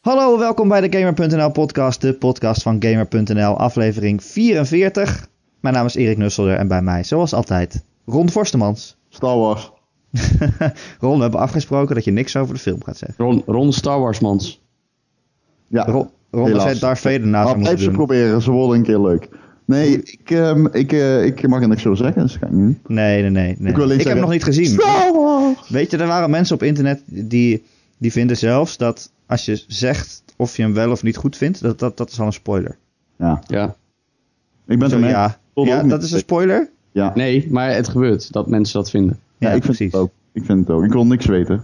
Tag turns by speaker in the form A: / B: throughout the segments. A: Hallo, welkom bij de Gamer.nl podcast, de podcast van Gamer.nl, aflevering 44. Mijn naam is Erik Nusselder en bij mij, zoals altijd, Ron Forstemans.
B: Star Wars.
A: Ron, we hebben afgesproken dat je niks over de film gaat zeggen.
C: Ron, Ron Star Wars mans.
B: Ja,
A: Ron, Ron als
B: helaas. Ah,
A: jij Darth Vader na zou
B: laat
A: moeten
B: even ze
A: doen.
B: proberen. Ze worden een keer leuk. Nee, ik, ehm, ik, eh, ik mag er niks over zeggen, dus dat ga ik niet doen.
A: Nee, nee, nee. nee.
B: Ik wil alleen
A: heb
B: zeggen-
A: nog niet gezien.
B: Star Wars!
A: Weet je, er waren mensen op internet die, die vinden zelfs dat als je zegt of je hem wel of niet goed vindt, dat, dat, dat is al een spoiler.
B: Ja,
C: Ja.
B: ik ben
A: Zo,
B: er mee.
A: ja,
B: Tot
A: ja
B: ook niet.
A: dat is een spoiler?
B: Ja.
C: Nee, maar het gebeurt dat mensen dat vinden.
B: Ja, ik vind
A: precies.
B: het ook. Ik vind het ook. Ik wil niks weten.
A: Maar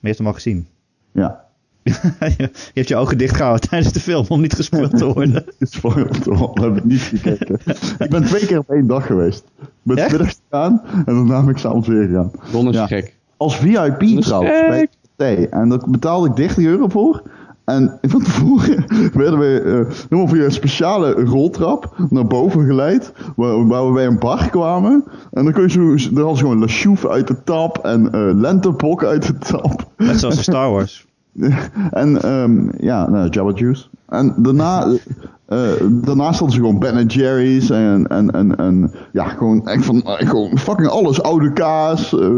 A: je hebt hem al gezien.
B: Ja.
A: je hebt je ogen dicht gehouden tijdens de film om niet gespoeld te worden.
B: Het is voor we hebben niet gekeken. ik ben twee keer op één dag geweest. Ik ben
A: Echt?
B: 's middags gegaan en daarna ben ik s'avonds weer gegaan.
C: Ron is
B: Ja.
C: gek.
B: Als VIP trouwens. Bij T. En daar betaalde ik 30 euro voor. En van tevoren werden we eh, helemaal via een speciale roltrap naar boven geleid. Waar, waar we bij een bar kwamen. En dan kon je zo, er was gewoon lachouf uit de tap en eh lentebok uit de tap.
A: Net zoals in Star Wars.
B: En ehm, ja, nou, Jabba Juice. En daarna, eh, daarna stonden ze gewoon Ben Jerry's en, en, en, en ja, gewoon echt van eh, gewoon fucking alles. Oude kaas, eh,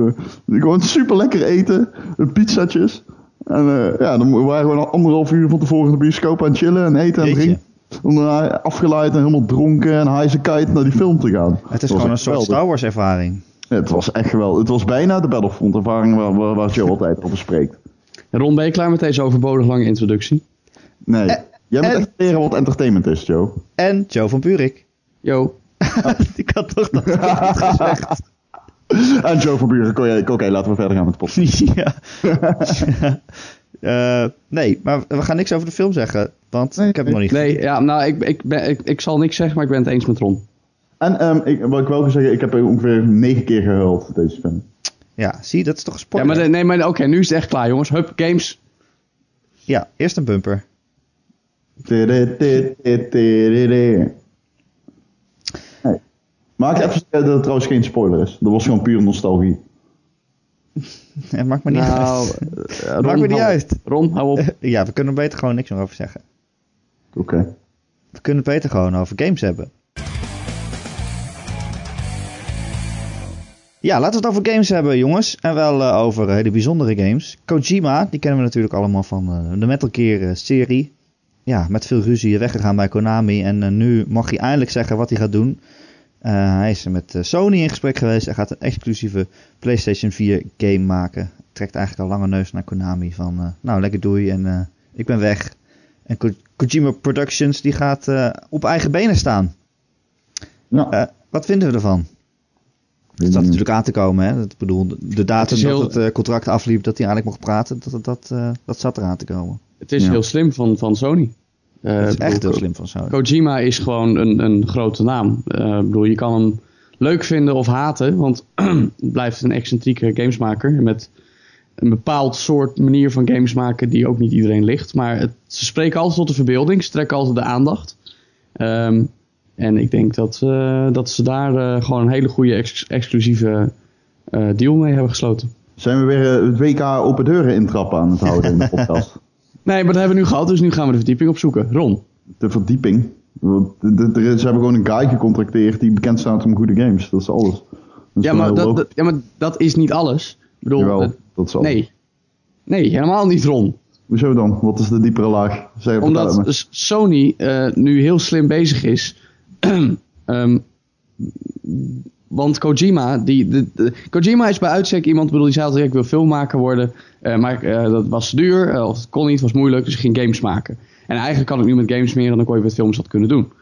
B: gewoon super lekker eten, eh, pizzatjes. En eh, ja, dan waren we gewoon anderhalf uur van tevoren in de bioscoop aan het chillen en eten en
A: Jeetje.
B: drinken. Om daarna afgeleid en helemaal dronken en high as a kite naar die film te gaan.
A: Het is gewoon een soort
B: stap.
A: Star Wars ervaring.
B: Het was echt geweldig. Het was bijna de Battlefront ervaring waar, waar, waar Joe altijd over spreekt.
C: Ron, ben je klaar met deze overbodig lange introductie?
B: Nee.
C: Eh,
B: Jij moet
A: en-
B: echt leren wat entertainment is, Joe.
A: En Joe van Purik.
C: Yo. Oh.
A: Ik had toch dat niet gezegd.
B: En Joe van Buren. Oké, oké, laten we verder gaan met de podcast.
A: ja. Eh, nee, maar we gaan niks over de film zeggen. Want
B: Nee,
A: ik heb hem nog niet
C: Nee, ja, nou, ik, ik, ben, ik, ik zal niks zeggen, maar ik ben het eens met Ron.
B: En ehm, ik, wat ik wel wil zeggen, ik heb ongeveer negen keer gehuild deze film.
A: Ja, zie, dat is toch een
C: Ja,
A: spoiler?
C: maar de- nee, maar oké, nu is het echt klaar, jongens. Hup, games.
A: Ja, eerst een bumper.
B: Tiri, tiri, tiri, tiri. Nee. Maar ik heb gezegd dat het trouwens geen spoiler is. Dat was gewoon puur nostalgie.
A: Het maakt me niet
C: Nou,
A: uit.
B: Ja,
A: Het eh, maakt me niet
C: hou-
A: uit.
C: Ron, hou op.
A: Ja, we kunnen beter gewoon niks meer over zeggen.
B: Oké.
A: We kunnen het beter gewoon over games hebben. Ja, laten we het over games hebben, jongens. En wel eh, over eh, hele bijzondere games. Kojima, die kennen we natuurlijk allemaal van eh, de Metal Gear eh, serie. Ja, met veel ruzie weggegaan bij Konami. En eh, nu mag hij eindelijk zeggen wat hij gaat doen. Eh, hij is met eh, Sony in gesprek geweest. Hij gaat een exclusieve PlayStation 4 game maken. Trekt eigenlijk al lange neus naar Konami. Van, eh, nou, lekker doei en eh, ik ben weg. En Ko- Kojima Productions die gaat eh, op eigen benen staan.
B: Ja.
A: Eh, wat vinden we ervan? Het
B: Mm.
A: zat natuurlijk aan te komen. Hè? Ik bedoel, de- de datum
C: is heel-
A: dat het eh, contract afliep, dat hij eigenlijk mocht praten, dat, dat, dat, eh, dat zat eraan te komen.
C: Het is
B: Ja.
C: heel slim van, van Sony. Eh,
A: dat is
C: bedoel,
A: echt heel slim van Sony.
C: Kojima is gewoon een, een grote naam. Eh, ik bedoel, je kan hem leuk vinden of haten, want het blijft een excentrieke gamesmaker met een bepaald soort manier van games maken die ook niet iedereen ligt. Maar het, ze spreken altijd tot de verbeelding, ze trekken altijd de aandacht. Ehm, en ik denk dat, eh, dat ze daar eh, gewoon een hele goede ex- exclusieve eh, deal mee hebben gesloten.
B: Zijn we weer eh, het WK open deuren intrappen aan het houden in de podcast?
C: Nee, maar dat hebben we nu gehad, dus nu gaan we de verdieping opzoeken. Ron,
B: De verdieping. Want de- de- er is- Ze hebben gewoon een guy gecontracteerd die bekend staat om goede games. Dat is alles. Dat is
C: ja
B: wel
C: maar
B: heel
C: dat,
B: logisch.
C: dat- ja, maar dat is niet alles. Ik bedoel,
B: Jawel,
C: het-
B: dat is alles.
C: Nee. Nee, helemaal niet Ron.
B: Hoezo dan? Wat is de diepere laag? Zeg, vertel het me.
C: Omdat S- Sony eh, nu heel slim bezig is. Ehm, want Kojima, die, de, de- Kojima is bij uitstek iemand, ik bedoel, die zei altijd, ik wil filmmaker worden. eh, maar eh, dat was duur, eh, of het kon niet, was moeilijk, dus ik ging games maken. En eigenlijk kan ik nu met games meer dan ik ooit met films had kunnen doen.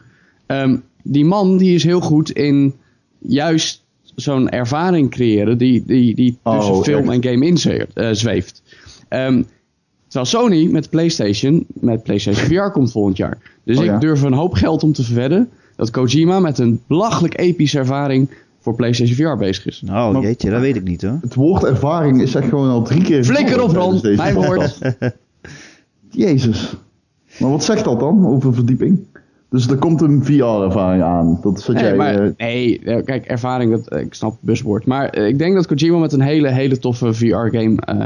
C: Ehm, die man, die is heel goed in juist zo'n ervaring creëren die, die, die tussen
B: Oh,
C: film en game in ze- eh, zweeft. Ehm, terwijl Sony met PlayStation, met PlayStation VR komt volgend jaar. Dus
B: Oh,
C: ik
B: ja.
C: durf een hoop geld om te verwedden dat Kojima met een belachelijk epische ervaring voor PlayStation VR bezig is.
A: Nou,
B: Maar-
A: jeetje, dat weet ik niet hoor.
B: Het woord ervaring is echt gewoon al drie keer...
C: Flikker op Ron,
B: tijdens deze
C: mijn
B: podcast.
C: woord.
B: Jezus. Maar wat zegt dat dan over verdieping? Dus er komt een VR-ervaring aan. Dat is wat
C: Nee,
B: jij... eh,
C: maar, nee, eh, kijk, ervaring, dat, eh, ik snap het buswoord. Maar eh, ik denk dat Kojima met een hele, hele toffe VR-game eh,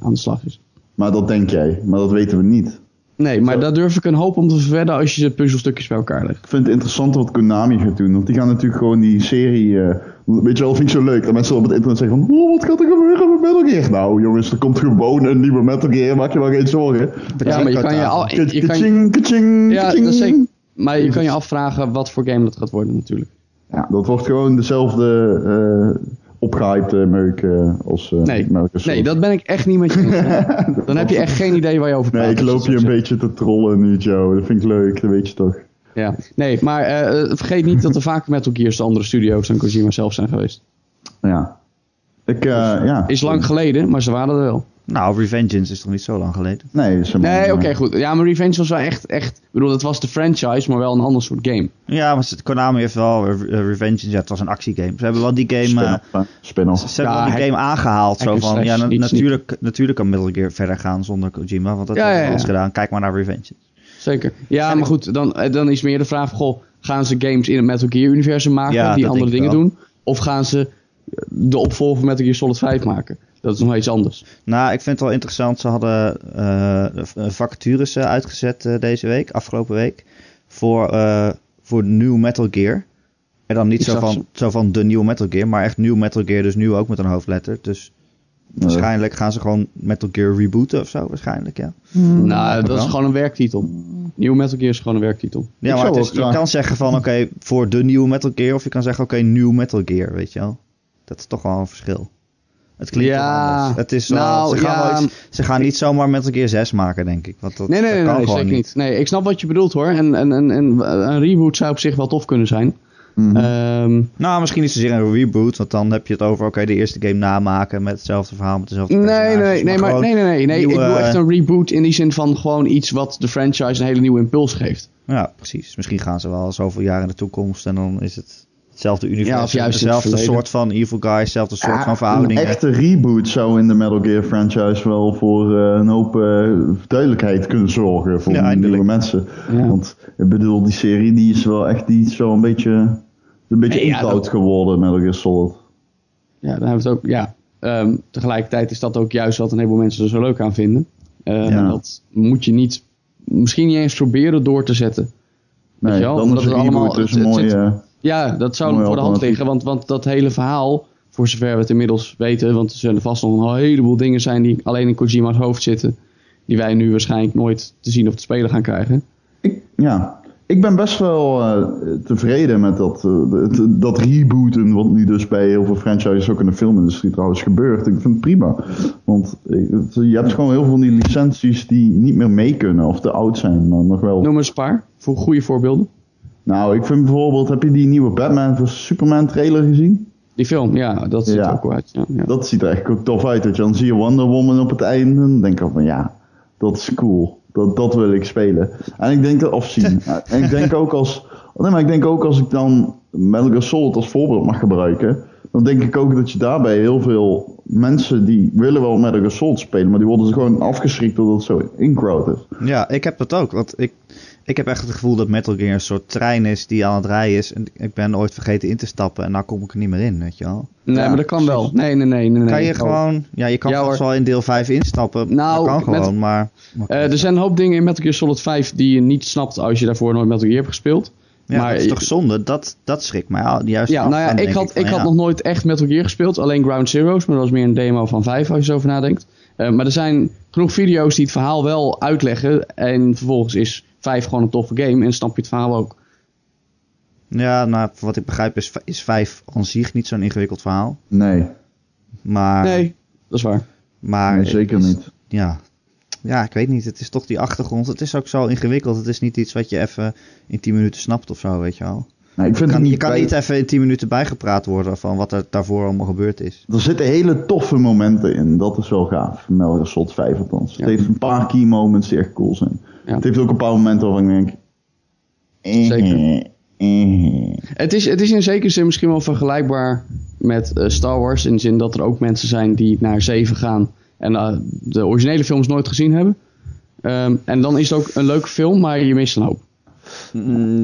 C: aan de slag is.
B: maar dat denk jij. Maar dat weten we niet.
C: Nee, maar daar durf ik een hoop om te verwedden als je de puzzelstukjes bij elkaar legt.
B: Ik vind het interessant wat Konami gaat doen. Want die gaan natuurlijk gewoon die serie. eh, weet je wel, vind ik zo leuk. Dat mensen op het internet zeggen van. Oh, wat gaat er gebeuren met Metal Gear? Nou jongens, er komt gewoon een nieuwe Metal Gear. Maak je wel geen zorgen.
C: Ja, maar je kan je, al, je, je kan,
B: Kaching, kaching,
C: ja,
B: kaching.
C: dat is zeker. Maar je kan je afvragen wat voor game dat gaat worden natuurlijk.
B: Ja, dat wordt gewoon dezelfde eh opgehypte meuk eh, als eh
C: Nee,
B: Microsoft.
C: nee, dat ben ik echt niet met je eens. Dan heb je echt geen idee waar je over praat.
B: Nee, ik loop je een beetje te trollen nu, Joe. Dat vind ik leuk, dat weet je toch.
C: Ja. Nee, maar eh, eh, vergeet niet dat er vaak Metal Gears de andere studio's dan Kojima zelf zijn geweest.
B: Ja. Ik, eh, ja.
C: Is lang geleden, maar ze waren er wel.
A: Nou, Revengeance is toch niet zo lang geleden?
B: Nee, is helemaal-
C: Nee, oké, goed. Ja, maar Revenge was wel echt, echt... Ik bedoel, dat was de franchise, maar wel een ander soort game.
A: Ja, maar ze- Konami heeft wel eh, Revengeance. Ja, het was een actiegame. Ze hebben wel die game... eh,
B: Spin-off, eh, Spin-off.
A: Ze hebben
C: Ja,
A: wel die
C: hack-
A: game aangehaald. Zo
C: hack and
A: van, ja,
C: slash,
A: na-
C: iets
A: natuurlijk, natuurlijk kan Metal Gear verder gaan zonder Kojima. Want dat
C: Ja,
A: hebben
C: ja,
A: we
C: ja.
A: alles gedaan. Kijk maar naar Revenge.
C: Zeker. Ja, maar goed, dan, eh, dan is meer de vraag: goh, gaan ze games in het Metal Gear-universum maken
A: Ja,
C: die
A: dat
C: andere
A: denk ik
C: dingen doen? Of gaan ze eh, de opvolger van Metal Gear Solid 5 maken? Dat is nog iets anders.
A: Nou, ik vind het wel interessant. Ze hadden eh, v- eh, vacatures eh, uitgezet eh, deze week, afgelopen week. Voor, eh voor nieuw Metal Gear. En dan niet
C: Ik
A: zo
C: zag
A: van, zo van de nieuwe Metal Gear, maar echt nieuw Metal Gear. Dus nieuw ook met een hoofdletter. Dus waarschijnlijk gaan ze gewoon Metal Gear rebooten of zo. Waarschijnlijk, ja.
C: nou, dat
A: wel.
C: is gewoon een werktitel. Nieuw Metal Gear is gewoon een werktitel.
A: Ja,
B: Ik
A: maar
B: zou
A: het
B: wel
A: is, je
B: graag-
A: kan zeggen van oké, voor de nieuwe Metal Gear. Of je kan zeggen oké, nieuw Metal Gear, weet je wel. Dat is toch wel een verschil. Het klinkt wel
C: Ja,
A: anders. Het is wel-
C: nou,
A: ze, gaan
C: ja.
A: wel iets- ze gaan niet zomaar Metal Gear 6 maken, denk ik. Want dat,
C: Nee, nee,
A: dat
C: nee,
A: kan
C: nee,
A: gewoon
C: zeker
A: niet.
C: niet. Nee, ik snap wat je bedoelt hoor. En, en, en, en een reboot zou op zich wel tof kunnen zijn.
A: Mhm.
C: Ehm,
A: Nou, misschien niet zozeer een reboot, want dan heb je het over oké, de eerste game namaken met hetzelfde verhaal, met dezelfde
C: nee,
A: personages,
C: nee, nee, maar,
A: gewoon
C: nee, nee, nee, nee. ik
A: nieuwe-
C: bedoel echt een reboot in die zin van gewoon iets wat de franchise een hele nieuwe impuls geeft.
A: Ja, precies. Misschien gaan ze wel zoveel jaar in de toekomst en dan is het hetzelfde universum,
C: Ja, of juist in het
A: dezelfde
C: verleden. Ah,
A: soort van evil guys, dezelfde soort
B: Ja,
A: van verhoudingen.
B: Een echte reboot zou in de Metal Gear franchise wel voor eh, een hoop eh, duidelijkheid kunnen zorgen voor
A: Ja, eindelijk.
B: nieuwe mensen.
C: Ja.
B: Want ik bedoel, die serie die is wel echt die is wel een beetje, een beetje
C: Nee, ja,
B: inkoud
C: dat-
B: geworden, Metal Gear Solid.
C: Ja, dan hebben we het ook. Ja, Ehm, tegelijkertijd is dat ook juist wat een heleboel mensen er zo leuk aan vinden. Ehm,
B: Ja.
C: Dat moet je niet, misschien niet eens proberen door te zetten.
B: Nee,
C: je wel?
B: dan
C: Omdat
B: is een
C: het allemaal-
B: reboot dus een
C: het- het
B: mooie...
C: zit- Ja, dat zou
B: Mooi
C: voor de hand
B: alternatief.
C: liggen, want, want dat hele verhaal, voor zover we het inmiddels weten, want er zullen vast nog een heleboel dingen zijn die alleen in Kojima's hoofd zitten, die wij nu waarschijnlijk nooit te zien of te spelen gaan krijgen.
B: Ik, ja, ik ben best wel eh, tevreden met dat, eh, het- dat rebooten, wat nu dus bij heel veel franchises ook in de filmindustrie trouwens gebeurt. Ik vind het prima. Want eh, het- je hebt gewoon heel veel van die licenties die niet meer mee kunnen of te oud zijn. Maar nog wel.
C: Noem eens een paar voor goede voorbeelden.
B: Nou, ik vind bijvoorbeeld, heb je die nieuwe Batman vs Superman trailer gezien?
C: Die film, ja, dat ziet
B: Ja.
C: er ook wel uit. Ja, ja.
B: Dat ziet er echt ook tof uit. Weet je. Dan zie je Wonder Woman op het einde. Dan denk ik al van ja, dat is cool. Dat, dat wil ik spelen. En ik denk dat, of zien. en ik denk ook als, oh nee, maar ik denk ook als ik dan Metal Gear Solid als voorbeeld mag gebruiken. Dan denk ik ook dat je daarbij heel veel mensen die willen wel Metal Gear Solid spelen. Maar die worden gewoon afgeschrikt doordat het zo in-crowd is.
A: Ja, ik heb dat ook. Want ik, ik heb echt het gevoel dat Metal Gear een soort trein is die aan het rijden is. En ik ben ooit vergeten in te stappen en nou kom ik er niet meer in, weet je wel.
C: nee,
B: Ja,
C: maar dat kan wel. Nee, nee, nee. nee, nee Oh.
A: kan je
C: dat
A: gewoon... Ja, je kan
C: Ja,
A: vast
C: hoor.
A: wel in deel 5 instappen.
C: Nou,
A: dat kan
C: met-
A: gewoon, maar...
C: Eh, er zijn een hoop dingen in Metal Gear Solid 5 die je niet snapt als je daarvoor nooit Metal Gear hebt gespeeld.
A: ja,
C: maar-
A: dat is toch zonde? Dat, dat schrikt mij al- juist
C: Ja,
A: af
C: nou ja,
A: aan,
C: ik
A: denk
C: had,
A: van,
C: ik had
A: ja.
C: nog nooit echt Metal Gear gespeeld. Alleen Ground Zeroes, maar dat was meer een demo van 5 als je erover nadenkt. Eh, maar er zijn genoeg video's die het verhaal wel uitleggen. En vervolgens is 5 gewoon een toffe game en snap je het verhaal ook.
A: Ja, nou, voor wat ik begrijp is, is 5 aan zich niet zo'n ingewikkeld verhaal.
B: Nee,
A: Maar...
C: Nee, dat is waar.
A: maar
B: nee zeker niet.
A: ja, ja, ik weet niet. Het is toch die achtergrond. Het is ook zo ingewikkeld. Het is niet iets wat je even in 10 minuten snapt of zo, weet je wel.
B: Nee, ik vind
A: Je
B: het
A: kan,
B: niet
A: je kan
B: bij-
A: niet even in 10 minuten bijgepraat worden van wat er daarvoor allemaal gebeurd is.
B: Er zitten hele toffe momenten in. Dat is wel gaaf. Metal Gear Solid 5 althans.
C: Ja.
B: Het heeft een paar key moments die echt cool zijn.
C: Ja.
B: Het heeft ook een paar momenten waarvan ik denk... eh,
C: Zeker.
B: eh.
C: Het is, het is in zekere zin misschien wel vergelijkbaar met eh, Star Wars. In de zin dat er ook mensen zijn die naar 7 gaan en eh, de originele films nooit gezien hebben. Ehm, en dan is het ook een leuke film, maar je mist een hoop.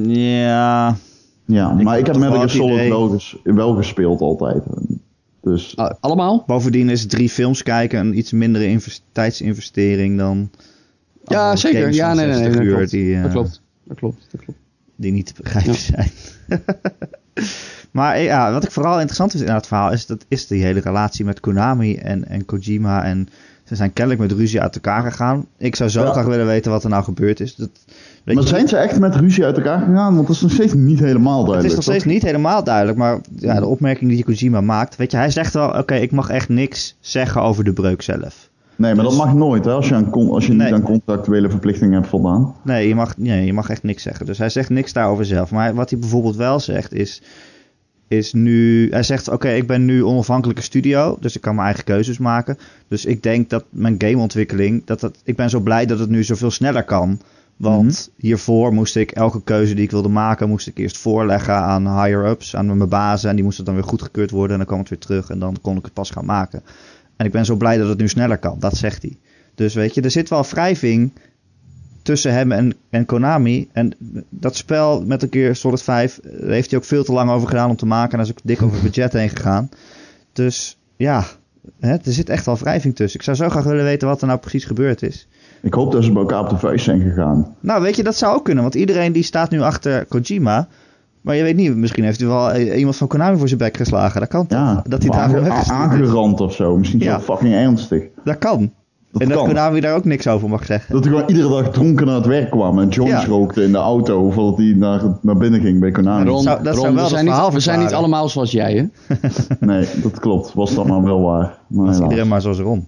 A: Ja.
B: Mm, Ja, maar ik heb
A: toch
B: Metal
A: wel het
B: Gear Solid
A: idee-
B: wel, ges- wel gespeeld altijd. Dus
C: Ah, allemaal?
A: Bovendien is drie films kijken een iets mindere invest- tijdsinvestering dan
C: Ja,
A: allemaal
C: zeker.
A: games
C: Ja,
A: van
C: nee, nee, nee,
A: 60
C: dat
A: uur
C: klopt.
A: Die, eh,
C: Dat klopt. Dat klopt. Dat klopt.
A: die niet te begrijpen zijn. maar eh, ja, wat ik vooral interessant vind in het verhaal is, dat is die hele relatie met Konami en, en Kojima. En ze zijn kennelijk met ruzie uit elkaar gegaan. Ik zou zo
B: Ja.
A: graag willen weten wat er nou gebeurd is. Dat, weet
B: Maar
A: je,
B: zijn ze echt met ruzie uit elkaar gegaan? Want dat is nog steeds niet helemaal duidelijk.
A: het is nog steeds niet helemaal duidelijk, maar ja, de opmerking die Kojima maakt. Weet je, hij zegt wel, oké, ik mag echt niks zeggen over de breuk zelf.
B: Nee, maar dat
A: Dus-
B: mag nooit hè, als je, aan con- als je
A: Nee.
B: niet aan contractuele verplichtingen hebt voldaan.
A: Nee je, mag, nee, je mag echt niks zeggen. Dus hij zegt niks daarover zelf. Maar wat hij bijvoorbeeld wel zegt is... is nu, hij zegt, oké, ik ben nu onafhankelijke studio. Dus ik kan mijn eigen keuzes maken. Dus ik denk dat mijn gameontwikkeling... Dat dat, ik ben zo blij dat het nu zoveel sneller kan. Want hiervoor moest ik elke keuze die ik wilde maken... moest ik eerst voorleggen aan higher-ups, aan mijn bazen. En die moesten dan weer goedgekeurd worden. En dan kwam het weer terug. En dan kon ik het pas gaan maken. En ik ben zo blij dat het nu sneller kan. Dat zegt hij. Dus weet je, er zit wel wrijving tussen hem en, en Konami. En dat spel met een keer Solid 5 eh, heeft hij ook veel te lang over gedaan om te maken. En daar is ook dik over het budget heen gegaan. Dus ja, hè, er zit echt wel wrijving tussen. Ik zou zo graag willen weten wat er nou precies gebeurd is.
B: Ik hoop dat ze bij elkaar op de vuist zijn gegaan.
A: Nou, weet je, dat zou ook kunnen. Want iedereen die staat nu achter Kojima. Maar je weet niet, misschien heeft hij wel eh, iemand van Konami voor zijn bek geslagen. Dat kan.
B: Ja,
A: Dat hij
B: maar
A: daarvoor
B: aange-
A: weggestuurd is.
B: aangerand of zo. Misschien
A: Ja.
B: zo fucking ernstig.
A: Dat kan.
B: Dat
A: en dat
B: kan.
A: Konami daar ook niks over mag zeggen.
B: Dat hij gewoon iedere dag dronken naar het werk kwam en joints
A: Ja.
B: rookte in de auto voordat hij naar, naar binnen ging bij Konami.
C: Ron,
A: zou- dat
C: Ron,
A: zou wel
C: we,
A: dat
C: zijn niet,
A: verhaal
C: we zijn niet
A: verklaren.
C: allemaal zoals jij, hè?
B: Nee, dat klopt. Was dat maar wel waar. Maar
A: Dat is
B: helaas.
A: iedereen maar zoals erom.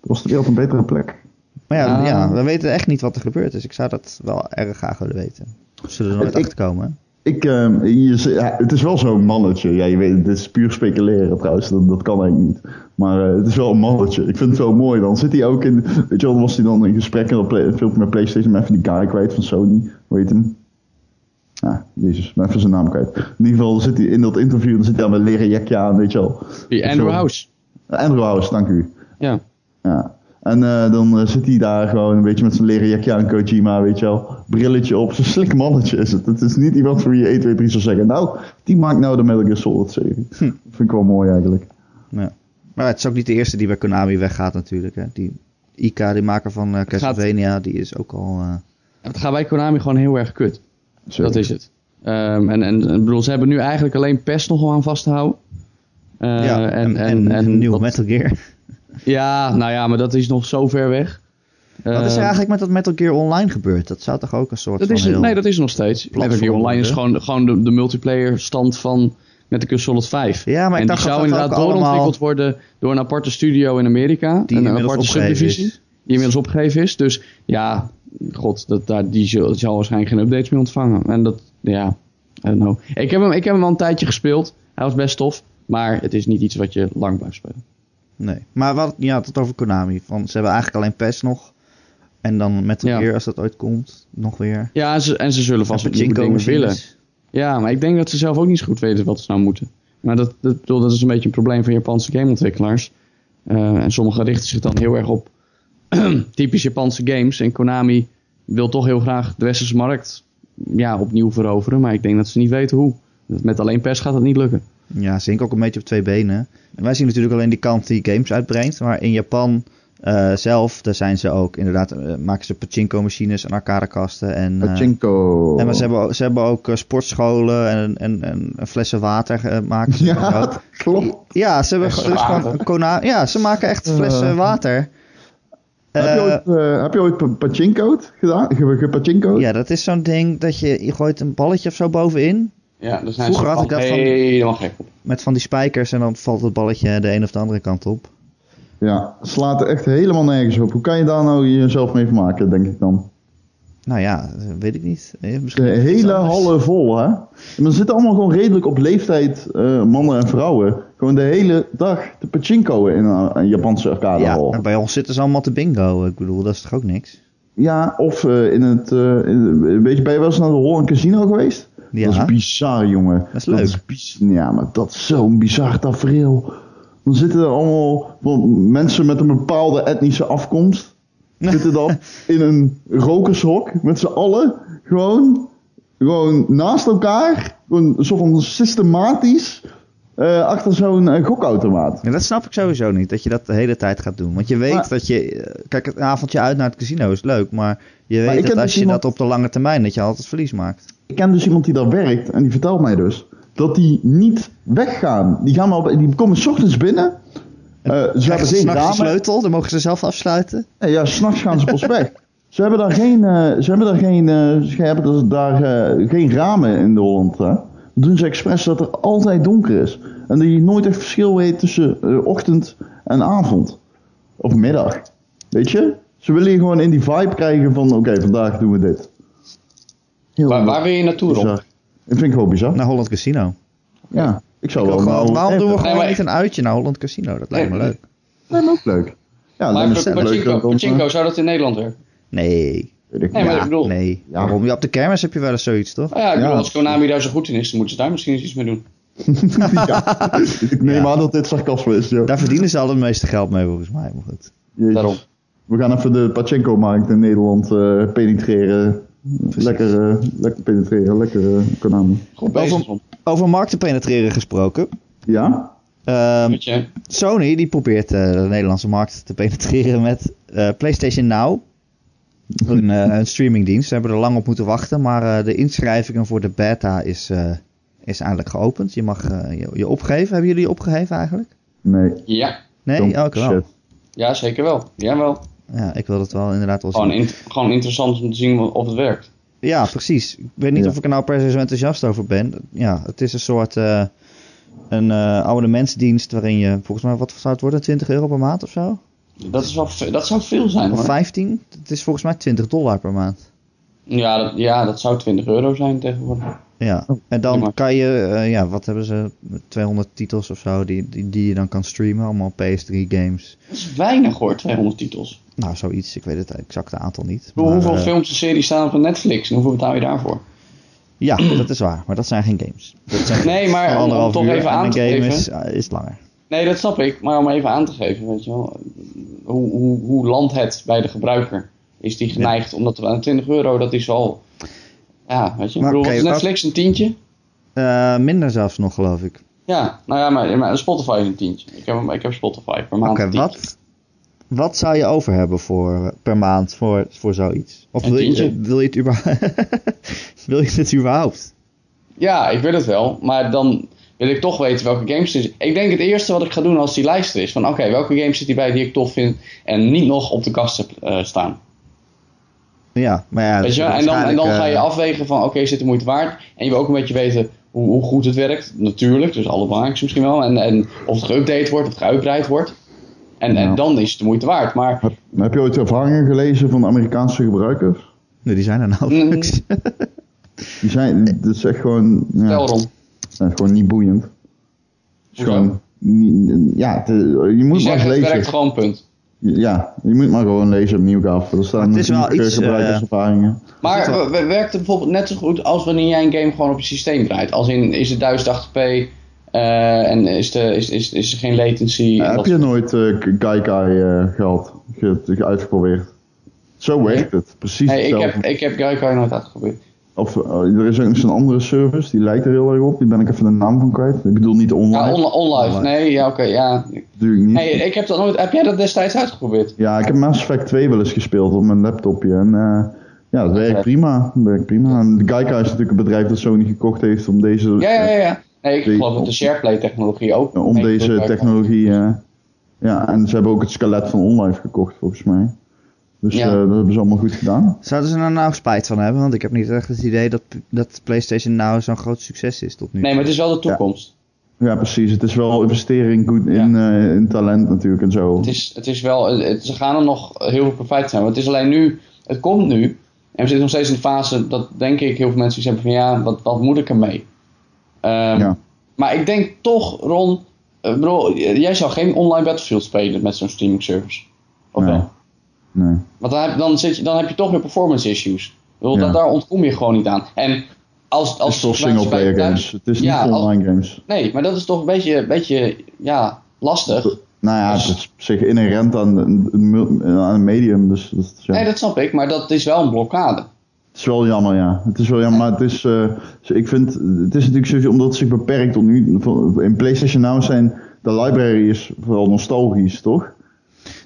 B: Was de wereld een betere plek?
A: Maar ja,
C: Ah.
A: ja, we weten echt niet wat er gebeurd is. Ik zou dat wel erg graag willen weten. We zullen er nooit
B: Ik-
A: achter komen.
B: Ik, ehm, je, ze- ja, het is wel zo'n mannetje. Ja, je weet, dit is puur speculeren trouwens. Dat, dat kan eigenlijk niet. Maar eh, het is wel een mannetje. Ik vind het wel mooi. Dan zit hij ook in... Weet je wel, dan was hij dan in gesprek en dan play- filmpje met Playstation. Maar even die guy kwijt van Sony. Hoe heet hem? Ah, jezus. Ik ben even zijn naam kwijt. In ieder geval zit hij in dat interview. Dan zit hij aan met leren jekje aan, weet je wel.
C: Die Andrew
B: Sorry.
C: House.
B: Andrew House, dank u.
C: Ja.
B: Ja. En eh, dan eh, zit hij daar gewoon een beetje met zijn leren jakje aan, Kojima, weet je wel. Brilletje op, zo'n slik mannetje is het. Het is niet iemand voor wie je 1, 2, 3 zou zeggen. Nou, die maakt nou de Metal Gear Solid serie. Vind ik wel mooi eigenlijk.
A: Ja. Maar het is ook niet de eerste die bij Konami weggaat natuurlijk. Hè. Die Ika, die maker van eh Castlevania, die is ook al... eh,
C: Dat gaat bij Konami gewoon heel erg kut.
B: Zo.
C: Dat is het. Ehm, en, en ik bedoel, ze hebben nu eigenlijk alleen PES nog wel aan vast te houden. Eh,
A: ja, en, en, nieuw
C: dat- eh,
A: Metal Gear.
C: Ja, nou ja, maar dat is nog zo ver weg.
A: wat is er
C: Ehm,
A: eigenlijk met dat Metal Gear Online gebeurd? Dat zou toch ook een soort
C: dat
A: van
C: is,
A: heel...
C: nee, dat is nog steeds.
A: platform,
C: Metal Gear Online is
A: hè?
C: gewoon, gewoon de, de multiplayer stand van Metal Gear Solid 5.
A: Ja, maar ik
C: en
A: dacht
C: die
A: dat
C: zou
A: dat
C: inderdaad
A: ook allemaal-
C: doorontwikkeld worden door een aparte studio in Amerika.
A: Die
C: een
A: inmiddels
C: aparte
A: opgeheven
C: subdivisie.
A: is.
C: Die inmiddels opgegeven is. Dus ja, god, dat, daar, die zal, zal waarschijnlijk geen updates meer ontvangen. En dat, ja, I don't know. Ik heb hem, ik heb hem al een tijdje gespeeld. Hij was best tof. Maar het is niet iets wat je lang blijft spelen.
A: Nee. Maar wat, ja, tot over Konami. Van, ze hebben eigenlijk alleen PES nog. En dan Metal
C: Ja.
A: Gear, als dat ooit komt, nog weer.
C: Ja, en ze, en ze zullen vast
A: En
C: wat nieuwe
A: Pachinko
C: dingen willen.
A: machines.
C: Ja, maar ik denk dat ze zelf ook niet zo goed weten wat ze nou moeten. Maar dat, dat, ik bedoel, dat is een beetje een probleem van Japanse gameontwikkelaars. Eh, en sommigen richten zich dan heel erg op typisch Japanse games. En Konami wil toch heel graag de westerse markt ja, opnieuw veroveren. Maar ik denk dat ze niet weten hoe. Dat Met alleen pers gaat dat niet lukken.
A: Ja, ze hinken ook een beetje op twee benen. En wij zien natuurlijk alleen die kant die games uitbrengt. Maar in Japan eh, zelf, daar zijn ze ook. Inderdaad, eh, maken ze pachinko-machines en arcadekasten. En, eh,
B: Pachinko.
A: en maar ze, hebben, ook- ze hebben ook eh, sportscholen en, en, en, en flessen water eh, maken ze. en
B: Ja,
A: zo.
B: dat klopt.
A: ja, ze hebben
C: Flessen
A: dus gewoon
C: water.
A: Kona, Ja, ze maken echt flessen
B: Eh.
A: water.
B: heb, je
A: Eh,
B: ooit, eh, heb je ooit pa- pachinko'd gedaan? Ge- gepachinko'd?
A: ja, dat is zo'n ding dat je, je gooit een balletje of zo bovenin.
C: Ja, dat
A: zijn ze Vroeger had ik dat van-
C: helemaal gek op.
A: Met van die spijkers en dan valt het balletje de een of de andere kant op.
B: Ja, slaat er echt helemaal nergens op. Hoe kan je daar nou jezelf mee vermaken, denk ik dan?
A: Nou ja, weet ik niet. Eh,
B: De
A: Misschien is het iets
B: hele
A: anders.
B: hallen vol, hè? En dan zitten allemaal gewoon redelijk op leeftijd eh, mannen en vrouwen. Gewoon de hele dag te pachinkoen in eh, een, een Japanse
A: Ja,
B: arcadehal.
A: en
B: Ja,
A: bij ons zitten ze allemaal te bingo. Ik bedoel, dat is toch ook niks?
B: of eh, in het... eh in, weet je, ben je wel eens naar de Holland Casino geweest?
A: Ja.
B: Dat is bizar, jongen. Dat
A: is leuk.
B: biz- ja, maar dat is zo'n bizar tafereel. Dan zitten er allemaal wel mensen met een bepaalde etnische afkomst. Zitten dan in een rokershok met z'n allen. Gewoon, gewoon naast elkaar. Gewoon zo van systematisch. eh, eh, achter zo'n eh, gokautomaat.
A: Ja, dat snap ik sowieso niet, dat je dat de hele tijd gaat doen. Want je weet
B: Maar-
A: dat je... eh, Kijk, een avondje uit naar het casino is leuk, maar je weet
B: ik ken
A: dat
B: dus
A: als je
B: iemand-
A: dat op de lange termijn, dat je altijd verlies maakt.
B: Ik ken dus iemand die daar werkt en die vertelt mij dus dat die niet weggaan. Die, gaan maar op, die komen 's ochtends binnen. Eh, ze
A: Krijgen
B: hebben
A: ze
B: geen
A: s'nachts de
B: ramen.
A: sleutel, dan mogen ze zelf afsluiten.
B: Nee, ja, s'nachts gaan ze pas weg. Ze hebben daar geen, eh, ze hebben daar geen, eh, ze hebben dus daar, eh, geen ramen in de Holland. Hè? Dat doen ze expres dat er altijd donker is. En dat je nooit echt verschil weet tussen eh, ochtend en avond. Of middag. Weet je? Ze willen je gewoon in die vibe krijgen van oké, vandaag doen we dit. Heel
C: Waar, waar wil je naartoe, Rob?
B: bizar. Dat vind ik wel bizar.
A: Naar Holland Casino.
B: Ja, ik zou
A: Nou, Ik wil
B: wel
A: gewoon- waarom doen
B: naar
A: we
B: Holland
A: gewoon
C: Nee, maar-
A: niet een uitje naar Holland Casino? Dat lijkt me
C: Nee.
A: leuk.
B: Lijkt me ook leuk. Ja,
C: Maar
B: dan is het leuk.
C: Pachinko,
B: dat dan, eh,
C: Pachinko, zou dat in Nederland werken?
A: Nee.
B: weet ik
C: Nee,
B: niet.
C: maar
A: Ja,
C: ik bedoel-
A: nee.
B: Ja.
A: Waarom? Ja, op de kermis heb je wel eens zoiets, toch?
C: Nou ja, ik bedoel,
B: Ja.
C: als Konami daar zo goed in is, dan moeten ze daar misschien eens iets mee doen.
B: Ja. Ik neem aan dat dit sarcasme is, joh.
A: Daar verdienen ze al het meeste geld mee, volgens mij. Maar goed.
B: Jezus.
C: Daarom.
B: We gaan even de Pachinko-markt in Nederland eh, penetreren. Lekker, eh, lekker penetreren, lekker eh, Konami.
C: Goed
A: Wel
C: bezig,
A: van-
C: Rob.
A: Over markten penetreren gesproken.
B: Ja?
A: Ehm,
C: Weet je,
A: Sony die probeert eh, de Nederlandse markt te penetreren met eh, PlayStation Now.
B: Mhm.
A: Een, eh, een streamingdienst. Ze hebben er lang op moeten wachten. Maar eh, de inschrijvingen voor de beta is, eh, is eindelijk geopend. Je mag eh, je, je opgeven. Hebben jullie je opgegeven eigenlijk?
B: Nee.
C: ja.
A: Nee, ook wel.
B: Shit.
C: ja, zeker wel. Jawel.
A: Ja, ik wil dat wel inderdaad wel zien.
C: Gewoon, in- gewoon interessant om te zien wat- of het werkt.
A: Ja, precies. Ik weet niet
B: Ja.
A: of ik er nou per se zo enthousiast over ben. Ja, het is een soort eh een eh, abonnementsdienst waarin je volgens mij, wat zou het worden, 20 euro per maand of zo?
C: Dat, is wel, ve- dat zou veel zijn
A: Of
C: hoor.
A: 15? Het is volgens mij 20 dollar per maand.
C: Ja dat, ja, dat zou 20 euro zijn tegenwoordig.
A: Ja, en
C: prima.
A: dan kan je, eh, ja, wat hebben ze, 200 titels of zo die, die, die je dan kan streamen, allemaal PS3 games.
C: Dat is weinig hoor, 200 titels. Ik
A: Nou, zoiets, ik weet het exacte aantal niet.
C: bedoel,
A: maar,
C: hoeveel
A: eh,
C: films en series staan op Netflix en hoeveel betaal je daarvoor?
A: Ja, dat is waar, maar dat zijn geen games. Dat zijn
C: Nee, maar om- om
A: anderhalf
C: toch
A: uur
C: even
A: en
C: aan
A: een
C: te
A: game
C: geven.
A: is, eh, is langer.
C: Nee, dat snap ik, maar om even aan te geven, weet je wel. Hoe, hoe, hoe landt het bij de gebruiker? Is die geneigd, omdat we aan 20 euro, dat is al... Ja, weet je. Ik
A: Maar
C: bedoel,
A: oké,
C: wat is
A: wat-
C: Netflix een tientje?
A: Eh, minder zelfs nog, geloof ik.
C: Ja, nou ja, maar, maar Spotify is een tientje. Ik heb, ik heb Spotify per maand
A: Oké,
C: een tientje.
A: wat, wat zou je over hebben voor, eh, per maand voor, voor zoiets? Of
C: Een
A: wil je, eh,
C: tientje.
A: wil, je het überhaupt, wil je het überhaupt?
C: Ja, ik weet het wel. Maar dan wil ik toch weten welke games er is. Ik denk het eerste wat ik ga doen als die lijst er is. Van oké, welke games zit hierbij die ik tof vind. En niet nog op de kast heb eh, staan.
A: Ja, maar ja. eh,
C: Weet je? wel? En dan, en dan ga
B: eh,
C: je afwegen van oké, is dit de moeite waard? En je wil ook een beetje weten hoe, hoe goed het werkt. Natuurlijk, dus alle belangrijkste misschien wel. En, en of het geüpdate wordt, of het geuitbreid wordt. En,
B: Ja.
C: en dan is het de moeite waard. Maar
B: Heb, heb je ooit ervaringen gelezen van Amerikaanse gebruikers?
A: Nee, die zijn
C: Mm.
A: er nauwelijks.
B: Die zijn, dat is echt gewoon... Ja,
C: stel
B: dat
C: erom.
B: is gewoon niet boeiend. Het is
C: Hoezo?
B: gewoon... niet- ja, de- je
C: Die
B: moet maar
C: zeggen
B: eens
C: het
B: lezen.
C: werkt gewoon, punt.
B: Ja, je moet maar gewoon lezen op Nieuwkaaf. Er staan
A: Het is wel
B: natuurlijk,
A: iets,
B: eh, gebruikerservaringen.
A: Dat is
C: Maar
A: wel-
C: we- we- werkt het bijvoorbeeld net zo goed als wanneer jij een game gewoon op je systeem draait? Als in, is het 1080p eh, en is, de, is, is, is er geen latency? en
B: heb
C: dat-
B: je nooit eh, K- Gaikai eh, gehad? Ge- ge- uitgeprobeerd? Zo werkt het. Precies
C: Nee, ik
B: hetzelfde.
C: heb, ik heb Gaikai nooit uitgeprobeerd.
B: Of eh, er is ook zo'n andere service, die lijkt er heel erg op. Die ben ik even de naam van kwijt. Ik bedoel niet online,
C: Ja, Nou, onli- online.
A: Online.
C: Nee, ja, oké, ja.
B: natuurlijk niet.
C: Nee, ik heb dat nooit, heb jij dat destijds uitgeprobeerd?
B: Ja, ik heb Mass Effect 2 wel eens gespeeld op mijn laptopje. En eh, ja, dat werkt prima. Dat werkt prima. En Gaikai is natuurlijk een bedrijf dat Sony gekocht heeft om deze,
C: Ja, ja, ja. ja. Nee, ik
B: Die-
C: geloof dat de SharePlay-technologie ook...
B: Nou, om
C: mee-
B: deze
C: gebruikt wordt.
B: technologie... eh, ja, en ze hebben ook het skelet van OnLive gekocht volgens mij. Dus
C: Ja.
B: eh, dat hebben ze allemaal goed gedaan.
A: Zouden ze er nou spijt van hebben? Want ik heb niet echt het idee dat, dat PlayStation nou zo'n groot succes is tot nu.
C: Nee, maar het is wel de toekomst.
B: Ja, precies. Het is wel investering goed in, eh, in talent natuurlijk en zo.
C: Het, is, het is wel... het- ze gaan er nog heel veel profijt zijn. Want het is alleen nu... Het komt nu. En we zitten nog steeds in de fase dat denk ik heel veel mensen die zeggen van... Ja, wat, wat moet ik ermee? Ehm,
B: Ja.
C: Maar ik denk toch, Ron... eh, bro, jij zou geen online Battlefield spelen met zo'n streaming service. Of
B: Nee.
C: wel?
B: Nee.
C: Want dan heb, dan, zit je, dan heb je toch weer performance issues. Ik bedoel,
B: Ja.
C: dat, daar ontkom je gewoon niet aan. En als,
B: Het
C: als
B: is toch
C: gebruikers
B: singleplayer
C: bij-
B: games. Het is niet
C: Ja, als-
B: online games.
C: Nee, maar dat is toch een beetje, een beetje ja, lastig.
B: Nou ja, het is op zich inherent aan een- een mul- aan een medium. Dus dat is, ja.
C: Nee, dat snap ik, maar dat is wel een blokkade.
B: Het is wel jammer, ja. Het is wel jammer, maar het is, eh, ik vind, het is natuurlijk sowieso omdat het zich beperkt tot nu. In PlayStation Now zijn, de library is vooral nostalgisch, toch?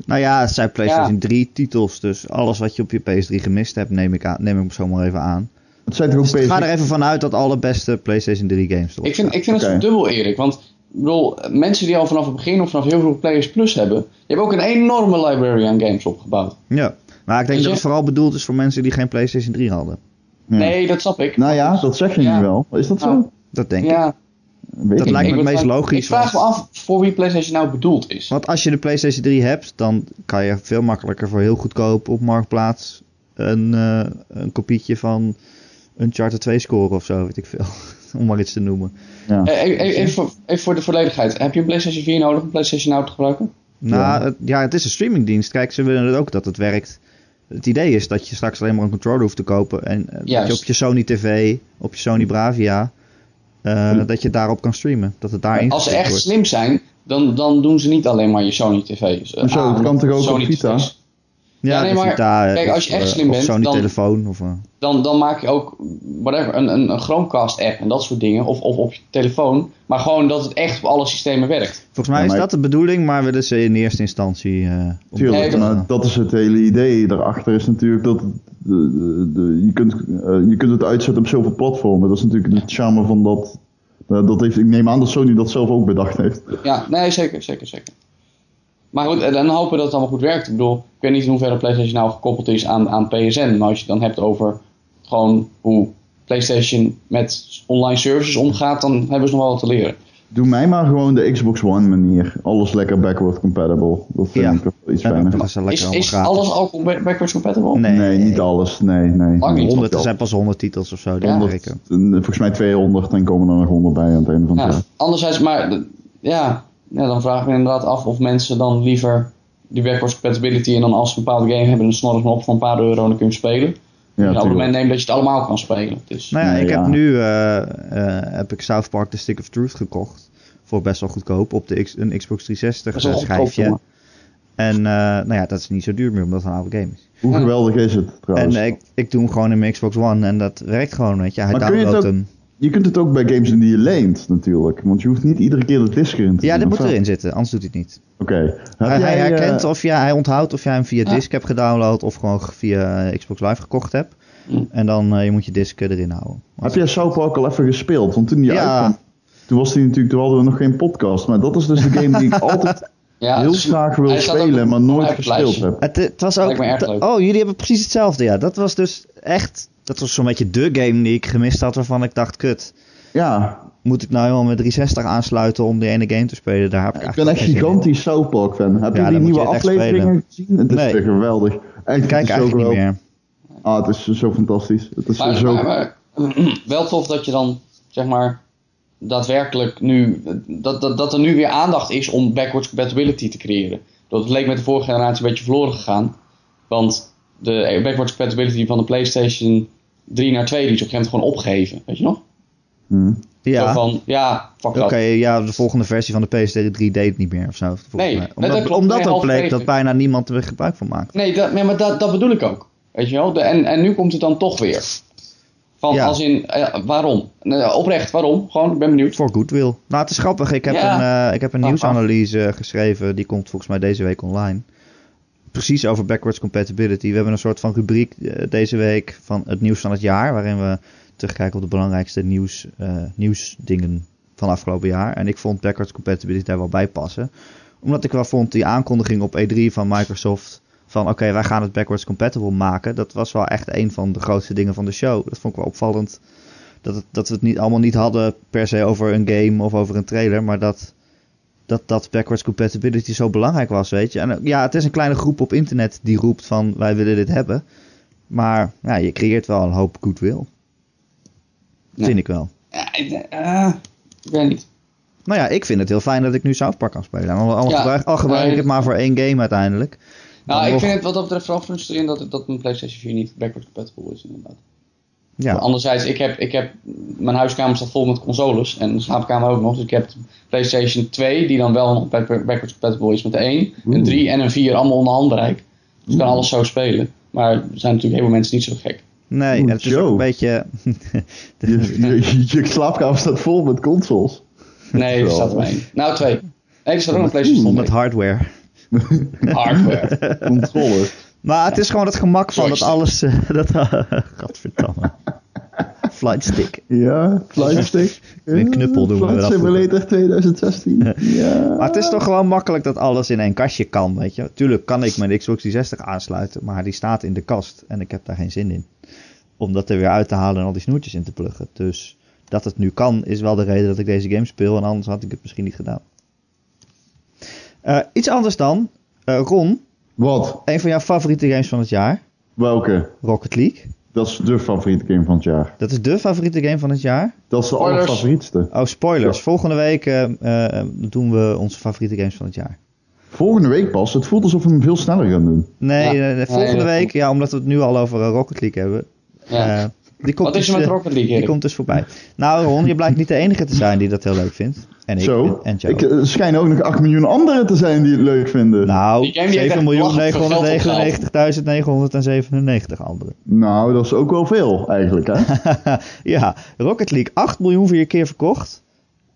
A: Nou ja, het zijn PlayStation 3 titels, dus alles wat je op je PS3 gemist hebt, neem ik, aan, neem ik zo maar even aan.
B: Het zijn toch ook
A: Dus ga
B: PS3
A: er even vanuit dat alle beste PlayStation 3 games erop
C: Ik vind, ik vind
B: Oké.
C: het dubbel eerlijk, want ik bedoel, mensen die al vanaf het begin of vanaf heel veel Players Plus hebben, die hebben ook een enorme library aan games opgebouwd.
A: staan. Ja, maar ik denk
C: je?
A: dat het vooral bedoeld is voor mensen die geen PlayStation 3 hadden.
B: Ja.
C: Nee, dat snap ik.
B: Nou ja, dat zeg je
C: Ja.
B: nu wel. Is dat
C: Nou,
B: zo?
A: Dat denk ik.
C: ja,
B: Weet
A: Dat lijkt
B: ik niet.
A: me het
C: wil
A: meest
C: vragen-
A: logisch,
C: Ik vraag me af voor wie PlayStation nou bedoeld is.
A: Want als je de PlayStation 3 hebt, dan kan je veel makkelijker voor heel goedkoop op Marktplaats een, eh, een kopietje van Uncharted 2 scoren of zo, weet ik veel. Om maar iets te noemen.
B: Ja.
C: Eh, eh, eh, even, voor- even voor de volledigheid. Heb je een PlayStation 4 nodig om PlayStation Now te gebruiken?
A: Nou,
B: Ja.
A: Het, ja, het is een streamingdienst. Kijk, ze willen het ook dat het werkt. Het idee is dat je straks alleen maar een controller hoeft te kopen. En eh, dat je
C: Juist.
A: op je Sony TV, op je Sony Bravia, eh, dat je daarop kan streamen. Dat het daarin
C: Hm. Als ze
A: gestopt
C: echt
A: wordt.
C: slim zijn, dan, dan doen ze niet alleen maar je Sony TV's. eh,
B: Hoezo,
C: aan,
B: het kan toch ook op
C: Sony
B: Vita?
C: TV's.
A: Ja,
C: Ja, nee,
A: de
C: maar
A: Vita, eh,
C: kijk,
A: of,
C: als je echt
A: eh,
C: slim
A: of
C: bent,
A: Sony
C: dan-
A: telefoon. Of, eh,
C: Dan, dan maak je ook whatever, een, een, een Chromecast app en dat soort dingen. Of, of op je telefoon. Maar gewoon dat het echt op alle systemen werkt.
A: Volgens mij
B: Ja,
A: is
B: maar-
A: dat de bedoeling, maar willen ze in eerste instantie... eh, op-
B: Tuurlijk,
C: Nee,
B: maar
A: dat-
B: dat is het hele idee. Daarachter is natuurlijk dat het, eh, de- je, kunt, eh, je kunt het uitzetten op zoveel platformen. Dat is natuurlijk de charme van dat. eh, dat heeft, ik neem aan dat Sony dat zelf ook bedacht heeft.
C: Ja, nee, zeker, zeker, zeker. Maar goed, en dan hopen we dat het allemaal goed werkt. Ik bedoel, ik weet niet in hoeverre PlayStation nou gekoppeld is aan, aan PSN. Maar als je het dan hebt over gewoon hoe PlayStation met online services omgaat, dan hebben ze nog wel wat te leren.
B: Doe mij maar gewoon de Xbox One manier. Alles lekker backward compatible. Dat vind
A: Ja.
B: ik wel iets
A: Ja,
B: fijner.
A: dat is wel lekker
C: Is,
A: allemaal
C: is
A: gratis.
C: alles al com- backwards compatible?
A: Nee,
B: Nee, niet alles. Nee, nee.
C: Lang niet.
A: 100, er zijn pas 100 titels of zo. die
C: Ja.
A: werken.
B: Eh, Volgens mij 200 en komen er nog 100 bij aan het einde van het
C: Ja,
B: jaar.
C: anderzijds, maar d- ja, ja, dan vraag ik me inderdaad af of mensen dan liever die backwards compatibility en dan als ze een bepaalde game hebben, dan snorren ze hem op voor een paar euro en dan kun je hem spelen.
B: Ja,
C: en op het
B: tuurlijk.
C: moment neemt dat je het allemaal kan spelen. Dus,
A: Nou ja,
B: Nee,
A: ik
B: ja.
A: heb nu eh, eh, heb ik South Park The Stick of Truth gekocht. Voor best wel goedkoop op de X- een Xbox 360
C: Dat is wel
A: eh,
C: goedkoop,
A: schijfje.
C: jongen.
A: en eh, nou ja, dat is niet zo duur meer, omdat het een oude game is.
B: Hoe geweldig is het
A: en
B: trouwens?
A: eh, ik, ik doe hem gewoon in mijn Xbox One en dat werkt gewoon, weet je. Hij
B: Maar kun je het
A: downloadt
B: ook-
A: hem.
B: Je kunt het ook bij games doen die je leent natuurlijk. Want je hoeft niet iedere keer de disc erin te
A: Ja,
B: doen,
A: dit
B: of
A: moet
B: wel?
A: erin zitten, anders doet hij het niet.
B: Oké.
A: Hij, hij
B: Heb jij, eh,
A: herkent of ja, hij onthoudt of jij hem via
B: Ah.
C: Ja.
A: disk hebt gedownload of gewoon via eh, Xbox Live gekocht hebt.
C: Hm.
A: En dan eh, je moet je disk eh, erin houden.
B: Mm. Heb jij South Park al even gespeeld? Want toen die
A: Ja.
B: uitkwam, toen, was die natuurlijk, toen hadden we nog geen podcast. Maar dat is dus de game die ik altijd
C: ja,
B: heel
C: dus-
B: graag wil
C: hij staat ook
B: spelen, maar nooit
C: op het
B: gespeeld
C: lijstje.
B: heb.
A: Het, het was ook.
C: Lijkt me erg leuk.
A: Oh, jullie hebben precies hetzelfde. Ja, dat was dus echt. Dat was zo'n beetje de game die ik gemist had. Waarvan ik dacht: kut,
B: Ja,
A: moet ik nou helemaal met 360 aansluiten om die ene game te spelen? Daar heb ik,
B: ik ben
A: eigenlijk
B: echt
A: geen zin in.
B: gigantisch South Park fan. Heb
A: Ja,
B: je
A: dan moet
B: die nieuwe
A: je het echt
B: afleveringen gezien? Het is
A: Nee.
B: te geweldig. Echt, het
A: Ik kijk
B: is zo
A: eigenlijk niet
B: geweldig.
A: meer.
B: Ah, het is zo fantastisch. Het
A: Dus
B: is
C: Maar,
B: zo...
C: maar- maar, wel tof dat je dan, zeg maar, daadwerkelijk nu, dat, dat, dat er nu weer aandacht is om backwards compatibility te creëren. Dat leek met de vorige generatie een beetje verloren gegaan. Want de backwards compatibility van de PlayStation 3 naar 2 die is op een gegeven moment gewoon opgegeven. Weet je nog?
B: Hm.
C: Zo
A: Ja.
C: van, ja, fuck
A: Oké,
C: dat.
A: ja, de volgende versie van de PS3 deed het niet meer of zo. volgens
C: Nee,
A: mij.
C: nee,
A: omdat,
C: dat klopt.
A: omdat
C: Nee,
A: ook
C: half
A: bleek
C: even.
A: dat bijna niemand er gebruik van maakt.
C: Nee, dat, nee maar dat, dat bedoel ik ook. Weet je wel? De- en, en nu komt het dan toch weer. Van,
A: Ja.
C: als in, eh, waarom? Eh, oprecht, waarom? Gewoon, ik ben benieuwd.
A: Voor goodwill. Nou, het is grappig. Ik heb
C: Ja.
A: een, eh, ik heb een
C: Ah,
A: nieuwsanalyse geschreven. Die komt volgens mij deze week online. Precies over backwards compatibility. We hebben een soort van rubriek eh, deze week van het nieuws van het jaar. Waarin we terugkijken op de belangrijkste nieuws, eh, nieuwsdingen van afgelopen jaar. En ik vond backwards compatibility daar wel bij passen. Omdat ik wel vond die aankondiging op E3 van Microsoft. Van oké, wij gaan het backwards compatible maken. Dat was wel echt een van de grootste dingen van de show. Dat vond ik wel opvallend dat, het- dat we het niet, allemaal niet hadden per se over een game of over een trailer, maar dat, dat dat backwards compatibility zo belangrijk was, weet je. En eh, ja, het is een kleine groep op internet die roept van wij willen dit hebben, maar ja, je creëert wel een hoop goodwill.
C: Ja.
A: Vind ik wel.
C: Ja, ik- eh, ik weet niet.
A: Nou ja, ik vind het heel fijn dat ik nu South Park kan spelen. En Al, al,
C: Ja.
A: gebruik, al gebruik ik
C: Nee.
A: het maar voor één game uiteindelijk. Dan
C: Nou, ik
A: nog-
C: vind het wat dat betreft vooral frustrerend dat, dat mijn PlayStation 4 niet backwards compatible is, inderdaad. Maar
A: Ja,
C: Anderzijds, ik heb, ik heb, mijn huiskamer staat vol met consoles en de slaapkamer ook nog. Dus ik heb de PlayStation 2, die dan wel nog back- backwards compatible is met de 1, een 3 en een 4, allemaal onder handbereik. Dus ik kan alles zo spelen. Maar er zijn natuurlijk heel veel mensen niet zo gek.
A: Nee,
B: Oeh,
A: en het is ook
B: Joe.
A: een beetje...
B: Je, je, je slaapkamer staat vol met consoles.
C: Nee, er
B: Wel.
C: staat er maar één. Nou, twee. Nee, er staat ook een
A: vol
C: PlayStation
A: met
C: 2.
A: hardware.
C: Hardware.
B: Controllers.
A: Maar het is gewoon het gemak van dat
C: Joystick.
A: alles... eh, dat, Gadverdamme. Flightstick.
B: Ja, Flightstick.
A: Met knuppel doen we
B: Flight
A: dat
B: Simulator 2016. Ja.
A: Maar het is toch gewoon makkelijk dat alles in één kastje kan, weet je. Tuurlijk kan ik mijn Xbox 360 aansluiten, maar die staat in de kast en ik heb daar geen zin in. Om dat er weer uit te halen en al die snoertjes in te pluggen. Dus dat het nu kan is wel de reden dat ik deze game speel en anders had ik het misschien niet gedaan. Eh, iets anders dan, eh, Ron,
B: Wat?
A: een van jouw favoriete games van het jaar,
B: Welke?
A: Rocket League.
B: Dat is de favoriete game van het jaar.
A: Dat is de favoriete game van het jaar.
B: Dat is de
C: Spoilers.
B: allerfavorietste.
A: Oh, spoilers.
B: Ja.
A: Volgende week eh, eh, doen we onze favoriete games van het jaar.
B: Volgende week pas. Het voelt alsof we hem veel sneller gaan doen.
A: Nee,
C: Ja.
A: eh, volgende
C: Nee, dat
A: week,
C: klopt.
A: ja, omdat we het nu al over eh, Rocket League hebben.
C: Ja.
A: eh, die komt
C: Wat is
A: dus,
C: er met
A: eh,
C: Rocket League,
A: Die
C: Erik?
A: komt dus voorbij. Nou, Ron, je blijkt niet de enige te zijn die dat heel leuk vindt. En ik
B: Zo.
A: en Joe.
B: Ik, eh, er schijnen ook nog 8 miljoen anderen te zijn die het leuk vinden. Nou,
A: nou,
C: Die game die heeft echt
A: miljoen 999.997 anderen.
B: Nou, dat is ook wel veel eigenlijk. Hè?
A: ja, Rocket League 8 miljoen vier keer verkocht.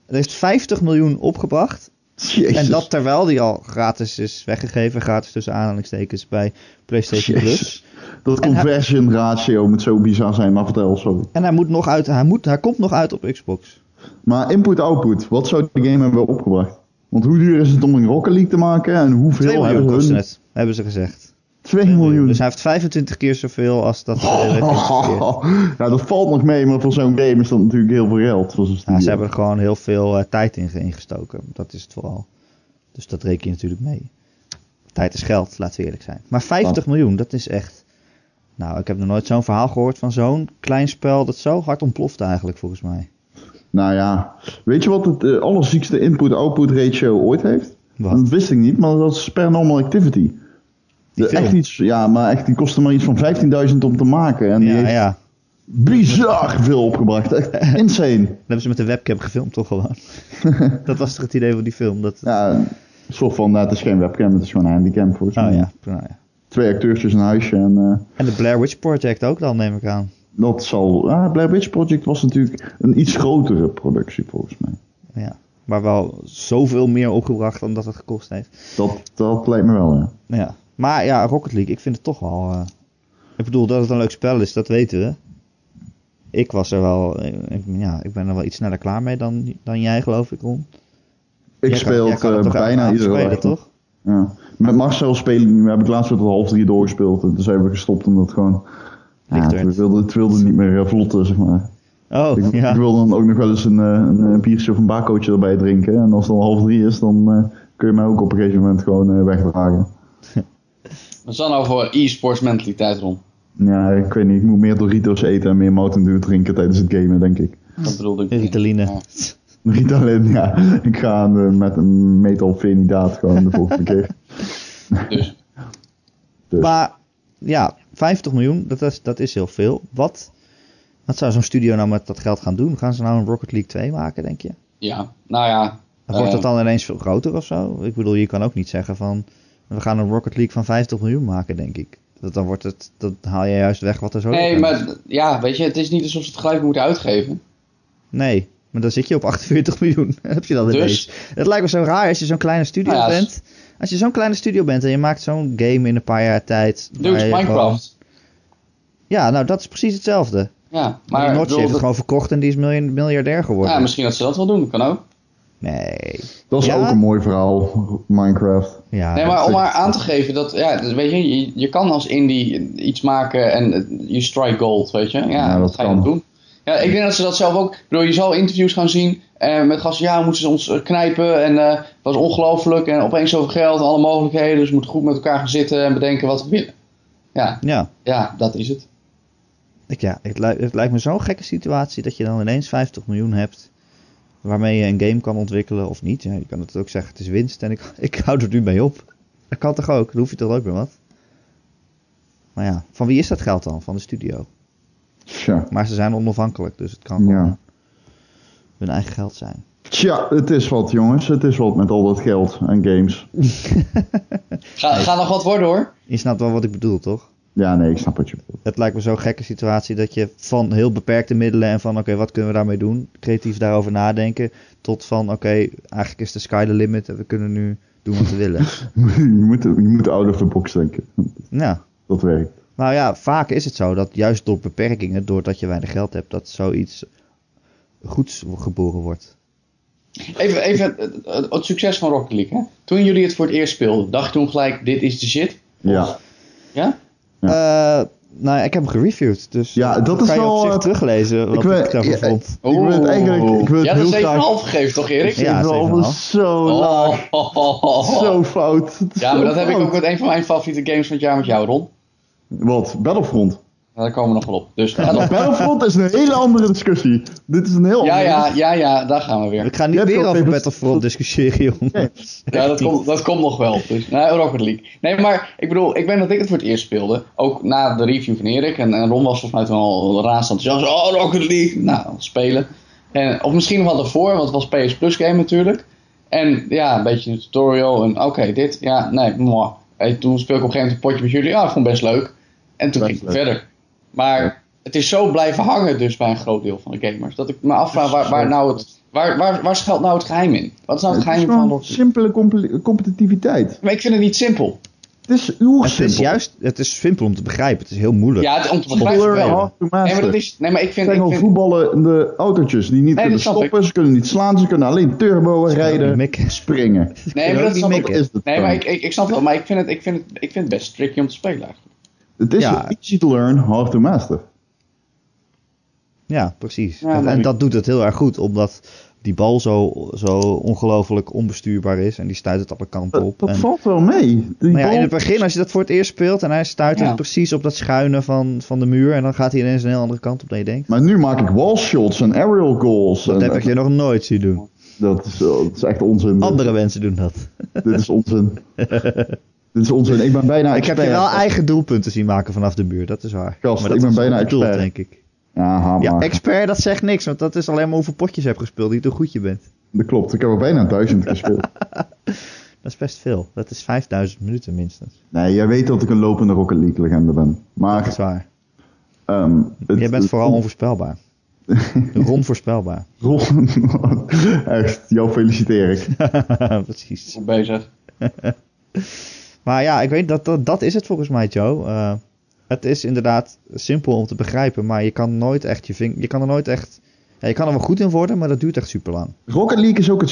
A: Er heeft 50 miljoen opgebracht.
B: Jezus.
A: En dat terwijl die al gratis is weggegeven, gratis tussen aanhalingstekens, bij PlayStation Plus.
B: Jezus. Dat
A: En hij-
B: conversion ratio moet zo bizar zijn, maar vertel, sorry.
A: En hij, moet nog uit, hij, moet, hij komt nog uit op Xbox.
B: Maar input-output, wat zou de game hebben opgebracht? Want hoe duur is het om een Rocket League te maken en
A: 2
B: hoeveel
A: miljoen
B: hebben
A: kostte
B: hun?
A: het, hebben ze gezegd.
B: 2 miljoen. Oh,
A: Dus hij heeft 25 keer zoveel als dat hij werd geïnvesteerd.
B: ja, dat valt nog mee, maar voor zo'n game is dat natuurlijk heel veel geld. Voor zo'n
A: Ja,
B: studio.
A: Nou, ze hebben er gewoon heel veel eh, tijd in ge- ingestoken. Dat is het vooral. Dus dat reken je natuurlijk mee. Tijd is geld, laten we eerlijk zijn. Maar 50 miljoen, dat is echt... Nou, ik heb nog nooit zo'n verhaal gehoord van zo'n klein spel... dat zo hard ontploft eigenlijk, volgens mij.
B: Nou ja, weet je wat het eh, allerziekste input-output ratio ooit heeft? Dat wist ik niet, maar dat is Paranormal Activity.
A: Die
B: De- echt
A: film.
B: iets, ja, maar echt, die kostte maar iets van 15.000 om te maken. En die
A: Ja,
B: heeft
A: ja.
B: bizar veel opgebracht. Echt insane.
A: Dat hebben ze met de webcam gefilmd, toch gewoon? dat was toch het idee van die film? Dat...
B: Ja, een soort van, nou, het is geen webcam, het is gewoon een handycam volgens mij.
A: Oh ja, nou ja.
B: Twee acteurtjes, een huisje en... eh,
A: En de Blair Witch Project ook dan, neem ik aan.
B: dat zal... Ah, Blair Witch Project was natuurlijk een iets grotere productie volgens mij.
A: Ja. Maar wel zoveel meer opgebracht dan dat het gekost heeft.
B: Dat, dat lijkt me wel, ja.
A: Ja. Maar ja, Rocket League, ik vind het toch wel... eh, Ik bedoel, dat het een leuk spel is, dat weten we. Ik was er wel... eh, ik- ja, ik ben er wel iets sneller klaar mee dan, dan jij, geloof ik, Ron.
B: Ik
A: Jij kan-
B: speel
A: jij
B: het
A: kan
B: eh,
A: toch
B: bijna
A: elke
B: iedere
A: avond
B: dag.
A: spelen, toch?
B: Ja. Met Marcel spelen heb ik laatst weer tot half drie doorgespeeld. En toen zijn we gestopt omdat gewoon... Ja,
A: Lichter.
B: het wilde, het wilde niet meer eh, vlotten, zeg maar.
A: Oh,
B: Ik,
A: ja.
B: ik wil dan ook nog wel eens een, eh, een, eh, biertje of een bakootje erbij drinken. En als het dan half drie is, dan eh, kun je mij ook op een gegeven moment gewoon eh, wegdragen.
C: Wat is dat nou voor e-sports mentaliteit, Ron?
B: Ja, ik weet niet. Ik moet meer Doritos eten en meer Mountain Dew drinken tijdens het gamen, denk ik.
C: Dat bedoelde ik. niet.
A: Ritaline.
C: Ja.
B: Niet alleen, ja. Ik ga aan de, met een metalfenidaat gewoon de volgende keer.
C: Dus.
B: Dus.
A: Maar ja, 50 miljoen, dat is, dat is heel veel. Wat, wat zou zo'n studio nou met dat geld gaan doen? Gaan ze nou een Rocket League 2 maken, denk je?
C: Ja, nou ja.
A: En Wordt dat
C: Eh.
A: dan ineens veel groter of zo? Ik bedoel, je kan ook niet zeggen van... We gaan een Rocket League van 50 miljoen maken, denk ik. Dat, dan wordt het, dat haal je juist weg wat er zo...
C: Nee,
A: doorkomt.
C: maar ja, weet je, het is niet alsof ze het gelijk moeten uitgeven.
A: Nee, maar dan zit je op 48 miljoen. Heb je dat
C: Dus?
A: ineens. Het lijkt me zo raar als je zo'n kleine studio
C: Nou ja, als-
A: bent. Als je zo'n kleine studio bent en je maakt zo'n game in een paar jaar tijd...
C: Dude,
A: waar je gewoon-
C: Minecraft.
A: ja, nou dat is precies hetzelfde.
C: Ja,
A: Maar die
C: maar... ik
A: Notch
C: bedoel,
A: heeft het
C: dat-
A: gewoon verkocht en die is miljoen- miljardair geworden.
C: ja, misschien dat ze dat wel doen, dat kan ook.
A: Nee.
B: Dat is
A: Ja?
B: ook een mooi verhaal, Minecraft.
A: Ja,
C: Nee, maar om
A: dat-
C: maar aan te geven dat, ja, dus weet je, je, je kan als indie iets maken en eh, je strike gold, weet je. Ja,
B: Ja, dat
C: dat ga je
B: kan.
C: dan doen. Ja, ik denk dat ze dat zelf ook, ik bedoel, je zal interviews gaan zien eh, met gasten, ja, we moeten ze ons eh, knijpen en eh, het was ongelooflijk en opeens zoveel geld en alle mogelijkheden, dus we moeten goed met elkaar gaan zitten en bedenken wat we willen. Ja,
A: Ja,
C: ja, dat is het.
A: ik, ja het, lijkt, het lijkt me zo'n gekke situatie dat je dan ineens 50 miljoen hebt. Waarmee je een game kan ontwikkelen of niet. Ja, je kan het ook zeggen, het is winst en ik, ik hou er nu mee op. Dat kan toch ook? Dan hoef je toch ook weer wat? Maar ja, van wie is dat geld dan? Van de studio.
B: Tja.
A: Maar ze zijn onafhankelijk, dus het kan
B: Ja.
A: gewoon hun eigen geld zijn.
B: Tja, het is wat, jongens. Het is wat met al dat geld en games.
C: Ga, ga nog wat worden hoor.
A: Je snapt wel wat ik bedoel, toch?
B: Ja, nee, ik snap wat je bedoelt.
A: Het lijkt me zo'n gekke situatie dat je van heel beperkte middelen en van oké, wat kunnen we daarmee doen? Creatief daarover nadenken. Tot van oké, eigenlijk is de sky the limit en we kunnen nu doen wat we willen.
B: je, moet, je moet out of the box denken.
A: Ja.
B: Dat werkt.
A: Nou ja, vaak is het zo dat juist door beperkingen, doordat je weinig geld hebt, dat zoiets goeds geboren wordt.
C: Even, even eh, eh, het succes van Rocket League. Hè? Toen jullie het voor het eerst speelden, dacht je toen gelijk: dit is de shit.
B: Ja.
C: Ja?
A: Eh, nou ja, ik heb hem gereviewd, dus
B: Ja, dat is
A: kan je
B: wel,
A: op zich
B: eh,
A: teruglezen wat ik,
B: ik weet-
A: daarvan
B: ja,
A: vond.
B: Ik wil het eigenlijk- ik wil het
C: ja, dat
B: heel
C: is 7,5
B: graag-
C: gegeven toch, Erik?
A: Ja,
B: Ik bedoel,
A: 7,5.
B: dat is zo
C: Oh,
B: laag.
C: oh, oh, oh, oh.
B: Zo fout. Het is
C: Ja,
B: zo
C: maar dat heb ik
B: fout.
C: ook met een van mijn favoriete games van het jaar met jou, Ron.
B: Wat? Battlefront?
C: Nou, daar komen we nog wel op. Dus ga door.
B: Battlefront is een hele andere discussie. Dit is een heel
C: ja,
B: andere
C: ja, ja, ja, daar gaan we weer.
A: Ik ga
B: Je
A: niet
B: hebt
A: weer
B: wel
A: over
B: even-
A: Battlefront discussiëren, jongen.
B: Nee.
C: Ja, dat komt, dat komt nog wel. Dus, nou, Rocket League. Nee, maar ik bedoel, ik weet dat ik het voor het eerst speelde. Ook na de review van Erik. En, en Ron was volgens mij toen al razend enthousiast. Oh, Rocket League. Nou, spelen. En, of misschien nog wel ervoor, want het was PS Plus game natuurlijk. En ja, een beetje een tutorial. En oké, dit. Ja, nee, mooi. En toen speel ik op een gegeven moment een potje met jullie. Ja, ik vond het best leuk. En toen
B: Best
C: ging ik
B: leuk.
C: verder. Maar het is zo blijven hangen dus bij een groot deel van de gamers. Dat ik me afvraag waar, waar, nou het, waar, waar, waar schuilt nou het geheim in? Wat is nou
B: Het
C: het
B: is
C: geheim van
B: gewoon
C: Rocket
B: simpele
C: League?
B: comp- competitiviteit.
C: Maar ik vind het niet simpel.
B: Het is uw
A: Het is juist, het is simpel om te begrijpen, het is heel moeilijk.
C: Ja, het, om te begrijpen
B: Voetballer en
C: wel.
B: hard to
C: Nee, maar
B: master.
C: dat is, nee, maar ik vind...
B: Het zijn
C: Ik
B: gewoon
C: vind
B: voetballende autootjes die niet
C: dat
B: kunnen
C: snap
B: stoppen. Ze kunnen niet slaan, ze kunnen alleen turboen rijden,
A: Mikken.
B: springen.
C: nee, maar dat
A: Die
C: snap
A: mikken.
C: ik.
B: is het
C: Nee,
B: gewoon.
C: maar ik, ik, ik snap het wel. Maar ik vind het, ik, vind het, ik vind het best tricky om te spelen eigenlijk.
B: Het is
A: Ja.
B: easy to learn, hard to master.
A: Ja, precies.
C: Ja,
A: en
C: maar-
A: en dat doet het heel erg goed, omdat die bal zo, zo ongelooflijk onbestuurbaar is en die stuit het alle kanten
B: Eh, Dat,
A: op.
B: dat
A: en-
B: valt wel mee. Die
A: Maar ja,
B: bal-
A: in het begin, als je dat voor het eerst speelt en hij stuit
C: Ja.
A: het precies op dat schuine van, van de muur. En dan gaat hij ineens een heel andere kant op dan je denkt.
B: Maar nu maak ik wall shots en aerial goals.
A: Dat
B: en-
A: heb ik je nog nooit zien doen.
B: dat, is, oh, dat is echt onzin.
A: Andere mensen doen dat.
B: Dit is onzin. Dit is onzin. Ik ben bijna
A: ik heb je
B: expert.
A: wel eigen doelpunten zien maken vanaf de muur, dat is waar.
B: Gast,
A: dat
B: ik ben
A: is
B: bijna
A: bedoeld,
B: expert.
A: denk ik.
B: Aha, maar.
A: Ja, expert, dat zegt niks, want dat is alleen maar hoeveel potjes je hebt gespeeld, niet hoe goed je bent.
B: dat klopt. Ik heb er bijna duizend gespeeld.
A: Dat is best veel. Dat is 5000 minuten minstens.
B: Nee, jij weet dat ik een lopende Rocket League legende ben.
A: Dat is
B: Maar...
A: waar.
B: ehm het-
A: Jij bent
B: het-
A: vooral onvoorspelbaar. Ronvoorspelbaar.
B: Ron- Echt, jou feliciteer ik.
A: Precies.
C: Goed bezig.
A: Maar ja, ik weet dat, dat, dat is het volgens mij, Joe. Eh, het is inderdaad simpel om te begrijpen, maar je kan nooit echt je ving, je kan er nooit echt, ja, je kan er wel goed in worden, maar dat duurt echt super lang.
B: Rocket League is ook het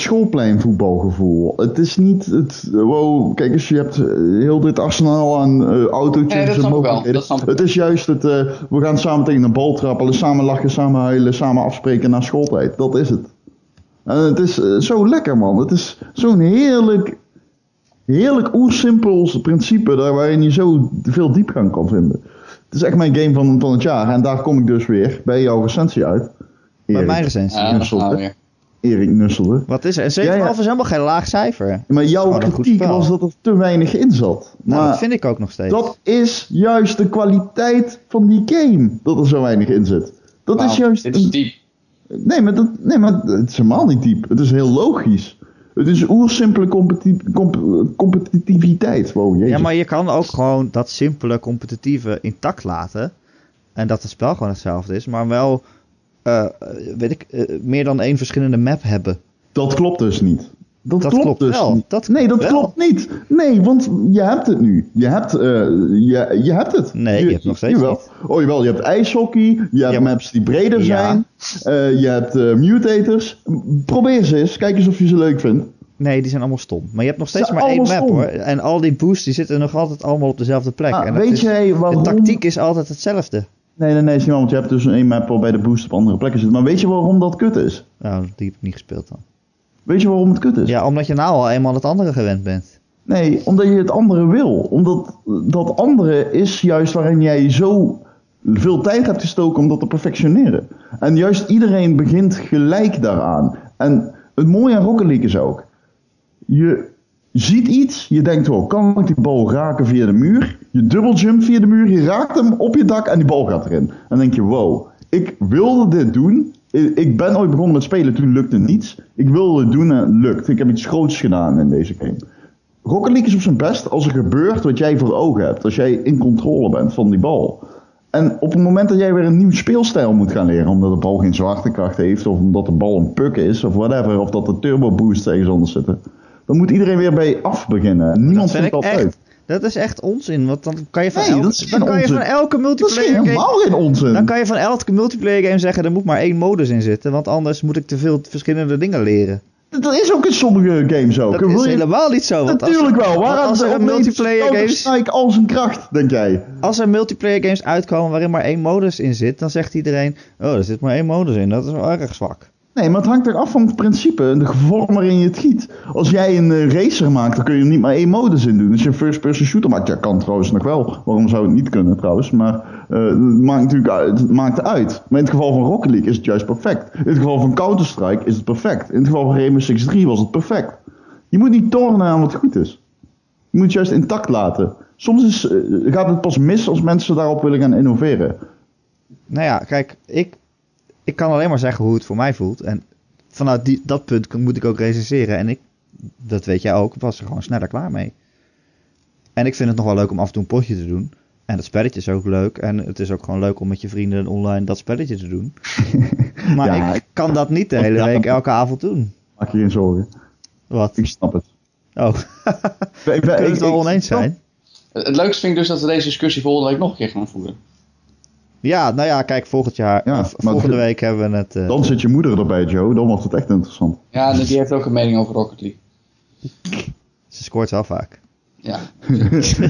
B: schoolpleinvoetbalgevoel. Het is niet het. Wow, kijk eens, je hebt eh, heel dit arsenaal aan eh autootjes
C: Nee,
B: en
C: dat snap ik wel.
B: mogelijkheden.
C: Dat snap ik
B: Het is juist het. eh, we gaan samen tegen een bal trappelen, samen lachen, samen huilen, samen afspreken na schooltijd. Dat is het. En het is eh, zo lekker, man. Het is zo'n heerlijk. Heerlijk oersimpel principe daar waarin je zo veel diepgang kan vinden. Het is echt mijn game van, van het jaar. En daar kom ik dus weer bij jouw recensie uit.
A: Bij mijn
B: Erik,
A: recensie.
C: Ja, dat gaan we weer.
B: Erik Nusselde.
A: Wat is er? Een 7,5
B: Ja, ja.
A: is helemaal geen laag cijfer.
B: Maar jouw
A: Oh, dat is een goed
B: kritiek
A: spel.
B: was dat er te weinig in zat.
A: Nou,
B: maar
A: dat vind ik ook nog steeds.
B: dat is juist de kwaliteit van die game, dat er zo weinig in zit. Dat
C: Wauw,
B: is
A: Nou,
B: juist...
C: Nou, Dit is diep.
B: nee, maar dat, nee, maar het is helemaal niet diep. Het is heel logisch. Het is oersimpele competi comp- competitiviteit. Wow, jezus.
A: ja, maar je kan ook gewoon dat simpele competitieve intact laten. En dat het spel gewoon hetzelfde is, maar wel, eh, weet ik, eh, meer dan één verschillende map hebben.
B: Dat klopt dus niet. Dat,
A: Dat
B: klopt,
A: klopt
B: dus
A: wel.
B: niet.
A: Dat
B: nee, dat
A: klopt wel.
B: klopt niet. Nee, want je hebt het nu. Je hebt, eh, je, je hebt het.
A: Nee, je hebt het nog steeds
B: jawel. Oh jawel, je hebt ijshockey. Je hebt
A: Ja, maar-
B: maps die
A: Ja.
B: breder zijn. eh, je hebt eh, mutators. Probeer ze eens. Kijk eens of je ze leuk vindt.
A: Nee, die zijn allemaal stom. Maar je hebt nog steeds
B: Ze
A: maar één map
B: allemaal stom.
A: hoor. En al die boosts die zitten nog altijd allemaal op dezelfde plek.
B: Ah,
A: en dat
B: weet
A: is-
B: jij waarom...
A: De tactiek is altijd hetzelfde.
B: Nee, nee, nee. is niet waar, want je hebt dus een map waarbij de boost op andere plekken zit. Maar weet je waarom dat kut is?
A: Nou, die heb ik niet gespeeld dan.
B: Weet je waarom het kut is?
A: Ja, omdat je nou al eenmaal het andere gewend bent.
B: Nee, omdat je het andere wil. Omdat dat andere is juist waarin jij zo veel tijd hebt gestoken om dat te perfectioneren. En juist iedereen begint gelijk daaraan. En het mooie aan Rocket League is ook... Je ziet iets, je denkt wel, kan ik die bal raken via de muur? Je dubbeljump via de muur, je raakt hem op je dak en die bal gaat erin. En dan denk je, wow, ik wilde dit doen. I- Ik ben ooit begonnen met spelen, toen lukte niets. Ik wilde het doen en het lukt. Ik heb iets groots gedaan in deze game Rocket League is op zijn best als er gebeurt wat jij voor ogen hebt. Als jij in controle bent van die bal. En op het moment dat jij weer een nieuw speelstijl moet gaan leren, omdat de bal geen zwaartekracht heeft, of omdat de bal een puk is, of whatever, of dat de turbo boost tegenstander zitten, dan moet iedereen weer bij af beginnen. En Niemand
A: Dat vind
B: vindt
A: ik
B: dat leuk.
A: echt. Dat is echt onzin, want dan kan je van,
B: Nee,
A: elke-
B: dat is
A: dan
B: geen
A: kan je van
B: onzin.
A: elke
B: Dat is
A: multiplayer
B: geen-
A: game-
B: helemaal geen onzin.
A: Dan kan je van elke multiplayer game zeggen, er moet maar één modus in zitten, want anders moet ik te veel verschillende dingen leren.
B: Dat is ook in sommige games ook.
A: Dat
B: Wil
A: is
B: je-
A: helemaal niet zo. want als-
B: Natuurlijk wel.
A: want
B: Waarom
A: als er een
B: opeens
A: multiplayer games,
B: Counter-Strike al zijn kracht, denk jij?
A: als er multiplayer games uitkomen waarin maar één modus in zit, dan zegt iedereen, oh, er zit maar één modus in, dat is wel erg zwak.
B: Nee, maar het hangt er af van het principe en de vorm waarin je het giet. Als jij een eh, racer maakt, dan kun je er niet maar één modus in doen. Als je een first-person shooter maakt, ja, kan trouwens nog wel. Waarom zou het niet kunnen trouwens? Maar eh, het maakt natuurlijk uit, het maakt uit. Maar in het geval van Rocket League is het juist perfect. In het geval van Counter-Strike is het perfect. In het geval van Rainbow Six 3 was het perfect. Je moet niet tornen aan wat goed is. Je moet het juist intact laten. Soms is, eh, gaat het pas mis als mensen daarop willen gaan innoveren.
A: Nou ja, kijk, ik, ik kan alleen maar zeggen hoe het voor mij voelt. En vanuit die, dat punt kan- moet ik ook recenseren. En ik, dat weet jij ook, was er gewoon sneller klaar mee. En ik vind het nog wel leuk om af en toe een potje te doen. En dat spelletje is ook leuk. En het is ook gewoon leuk om met je vrienden online dat spelletje te doen. maar
B: Ja,
A: ik kan dat niet de hele
B: Ja.
A: week elke avond doen.
B: Maak je geen zorgen.
A: Wat?
B: Ik snap het.
A: Oh,
B: Ik, ben- ik, ben-
A: kunnen we
B: ik-
A: het wel
B: ik-
A: oneens zijn?
C: Het, het leukste vind ik dus dat we deze discussie volgende week nog een keer gaan voeren.
A: Ja, nou ja, kijk, volgend jaar,
B: Ja,
A: of
B: maar-
A: volgende week hebben we het... eh,
B: Dan zit je moeder erbij, Joe. Dan wordt het echt interessant.
C: Ja, en die heeft ook een mening over Rocket League.
A: ze scoort wel vaak.
C: Ja.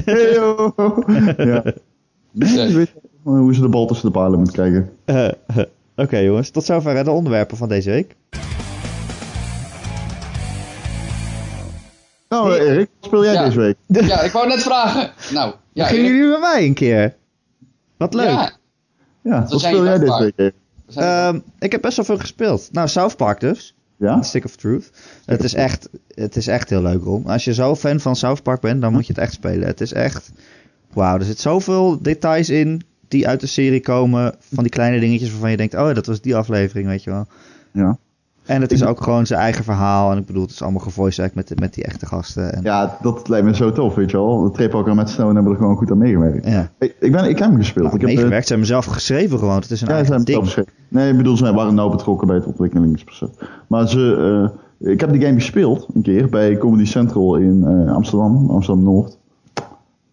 B: Hey, yo. ja.
C: Dus,
B: Nee,
C: eh,
B: ik weet niet hoe ze de bal tussen de palen moet krijgen.
A: Eh, eh, Oké jongens, tot zover hè, de onderwerpen van deze week.
B: Nou, eh, Erik, wat speel jij
C: Ja.
B: deze week?
C: ja, ik wou net vragen. Nou, ja,
A: Gingen
C: Erik,
A: jullie bij mij een keer? Wat leuk.
C: Ja,
B: Ja, wat
C: zijn
B: speel
C: je
B: jij deze
C: vragen.
B: week? Erik?
C: we zijn
B: Eh,
C: er.
A: Ehm, ik heb best wel veel gespeeld. Nou, South Park dus.
B: Ja?
A: Stick of Truth. Het is, echt, het is echt heel leuk, Ron. Als je zo fan van South Park bent, dan moet je het echt spelen. Het is echt... Wauw, er zit zoveel details in die uit de serie komen. Van die kleine dingetjes waarvan je denkt... Oh, dat was die aflevering, weet je wel.
B: Ja.
A: En het is ook gewoon zijn eigen verhaal. En ik bedoel, het is allemaal gevoice act met, de- met die echte gasten. En,
B: ja, dat lijkt me zo tof, weet je wel. De trip ook al met Snow en hebben er gewoon goed aan meegewerkt.
A: ja.
B: Ik, ik, ben, ik heb hem gespeeld.
A: Nou,
B: ik heb, eh,
A: meegewerkt. Ze hebben hem zelf geschreven gewoon. Het is een
B: Ja, ze
A: eigen
B: hebben het
A: ding.
B: opgeschreven. Nee, ik bedoel, ze waren nauw betrokken bij het ontwikkelingsproces. Maar ze, eh, ik heb die game gespeeld een keer bij Comedy Central in eh, Amsterdam, Amsterdam Noord.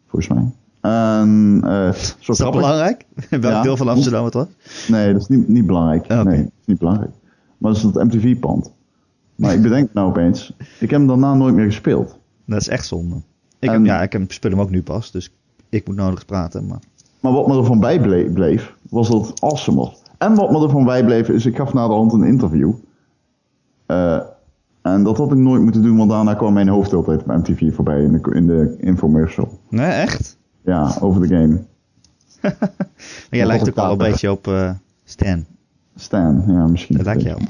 B: Volgens mij. En, eh, zo
A: Is dat
B: grappig.
A: belangrijk? Welk
B: Ja.
A: deel van Amsterdam het was?
B: Nee, dat is niet, niet belangrijk.
A: Ah, Oké.
B: Nee, dat is niet belangrijk. Maar dat is dat MTV-pand. Maar ik bedenk het nou opeens. Ik heb hem daarna nooit meer gespeeld.
A: Dat is echt zonde. Ik,
B: En-
A: heb, ja, ik heb, speel hem ook nu pas, dus ik moet nodig praten. Maar...
B: Maar wat me ervan bijbleef, bleef, was dat het awesome was. En wat me ervan bijbleef, is ik gaf na de hand een interview. Eh, en dat had ik nooit moeten doen, want daarna kwam mijn hoofd altijd op MTV voorbij in de, in de infomercial.
A: Nee, echt?
B: Ja, over de game.
A: Maar jij
B: Nog
A: lijkt
B: een
A: ook wel een
B: kater.
A: beetje op eh, Stan.
B: Stan, ja, misschien.
A: Dat lijkt je op.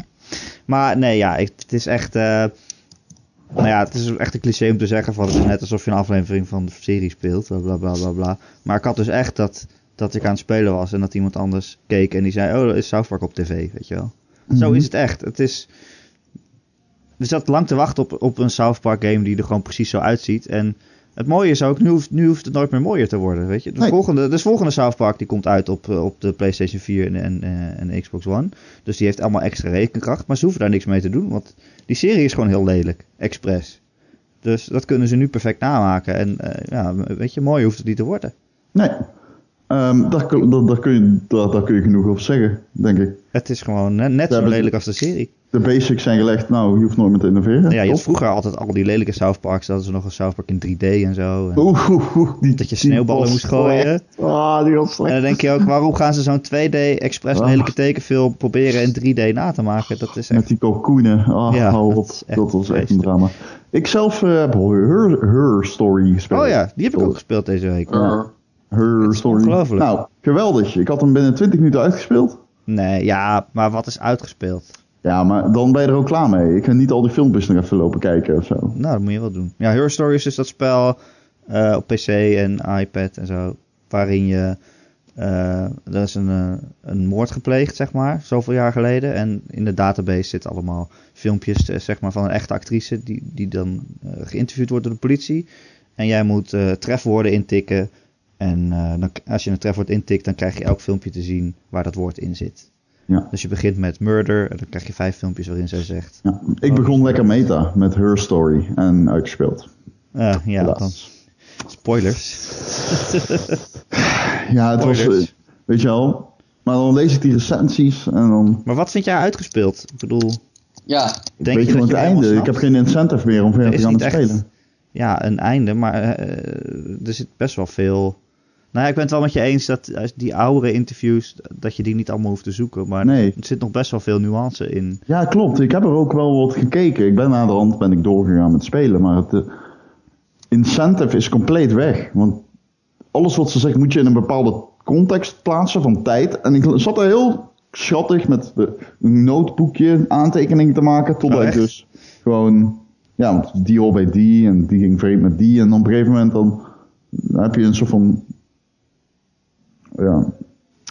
A: Maar nee, ja, ik- het is echt... eh, nou ja, het is echt een cliché om te zeggen van... Het is net alsof je een aflevering van de serie speelt. Bla, bla, bla, bla, bla. Maar ik had dus echt dat, dat ik aan het spelen was... en dat iemand anders keek en die zei... Oh, dat is South Park op tv, weet je wel. Zo is het echt. Het is... We zaten lang te wachten op, op een South Park game die er gewoon precies zo uitziet. En het mooie is ook, nu hoeft, nu hoeft het nooit meer mooier te worden. Weet je? De,
B: Nee.
A: volgende, de volgende South Park die komt uit op, eh, op de PlayStation 4 en, en, eh, en Xbox One. Dus die heeft allemaal extra rekenkracht. Maar ze hoeven daar niks mee te doen, want die serie is gewoon heel lelijk. Express. Dus dat kunnen ze nu perfect namaken. En eh, ja, weet je, mooi hoeft het niet te worden.
B: Nee. Ehm, daar, kun- daar, daar kun je, daar, daar kun je genoeg over zeggen, denk ik.
A: Het is gewoon net, net zo
B: hebben-
A: lelijk als de serie.
B: De basics zijn gelegd, nou, je hoeft nooit meer te
A: Ja,
B: innoveren.
A: je had
B: Top.
A: vroeger altijd al die lelijke South Parks. Dat is nog een South Park in 3D en zo. En-
B: Oeh, oeh, oeh, die-
A: Dat je
B: die
A: sneeuwballen
B: was
A: moest gooien.
B: slecht. Ah, die was
A: En
B: slecht.
A: dan denk je ook, waarom gaan ze zo'n 2D expres
B: Ah.
A: lelijke tekenfilm proberen in 3D na te maken? Dat is
B: Met
A: echt...
B: die kalkoenen. Ah,
A: Ja,
B: hou
A: dat
B: op.
A: is echt
B: Dat was echt een
A: vreselijk.
B: drama. Ik zelf eh, heb Her, Her Story gespeeld.
A: Oh ja, die heb ik ook gespeeld deze week.
B: Ah.
C: Er.
B: Her Story.
A: ongelooflijk.
B: Nou, geweldig. Ik had hem binnen 20 minuten uitgespeeld.
A: Nee, ja, maar wat is uitgespeeld?
B: Ja, maar dan ben je er ook klaar mee. Ik ga niet al die filmpjes nog even lopen kijken of zo.
A: Nou, dat moet je wel doen. Ja, Her Story is dus dat spel eh, op PC en iPad en zo. Waarin je eh, er is een, eh, een moord gepleegd, zeg maar, zoveel jaar geleden. En in de database zitten allemaal filmpjes eh, zeg maar, van een echte actrice die, die dan eh, geïnterviewd wordt door de politie. En jij moet eh, trefwoorden intikken. En eh, dan, als je een trefwoord intikt, dan krijg je elk filmpje te zien waar dat woord in zit.
B: Ja.
A: Dus je begint met murder en dan krijg je vijf filmpjes waarin zij zegt.
B: Ja. Ik begon lekker meta met Her Story en uitgespeeld.
A: eh, ja,
B: Helaas.
A: dan, spoilers.
B: Ja, het was,
A: Spoilers.
B: eh, weet je wel. Maar dan lees ik die recensies en dan
A: Maar wat vind jij uitgespeeld? Ik bedoel,
C: Ja,
A: denk
B: weet
A: je
B: je
A: dat
B: gewoon
A: je
B: het
A: helemaal
B: einde. Ik
A: snapt?
B: heb geen incentive meer om verder te
A: is
B: gaan
A: niet echt-
B: spelen.
A: Ja, een einde, maar eh, er zit best wel veel... Nou ja, ik ben het wel met je eens dat eh, die oudere interviews, dat je die niet allemaal hoeft te zoeken. Maar
B: Nee.
A: er zit nog best wel veel nuance in.
B: Ja, klopt. Ik heb er ook wel wat gekeken. Ik ben aan de hand ben ik doorgegaan met spelen, maar het eh, incentive is compleet weg. Want alles wat ze zegt moet je in een bepaalde context plaatsen van tijd. En ik zat er heel schattig met de een noodboekje aantekeningen te maken, totdat
A: Oh,
B: ik
A: echt?
B: dus gewoon, ja, want die hoort bij die en die ging vreemd met die. En op een gegeven moment dan, dan heb je een soort van, ja,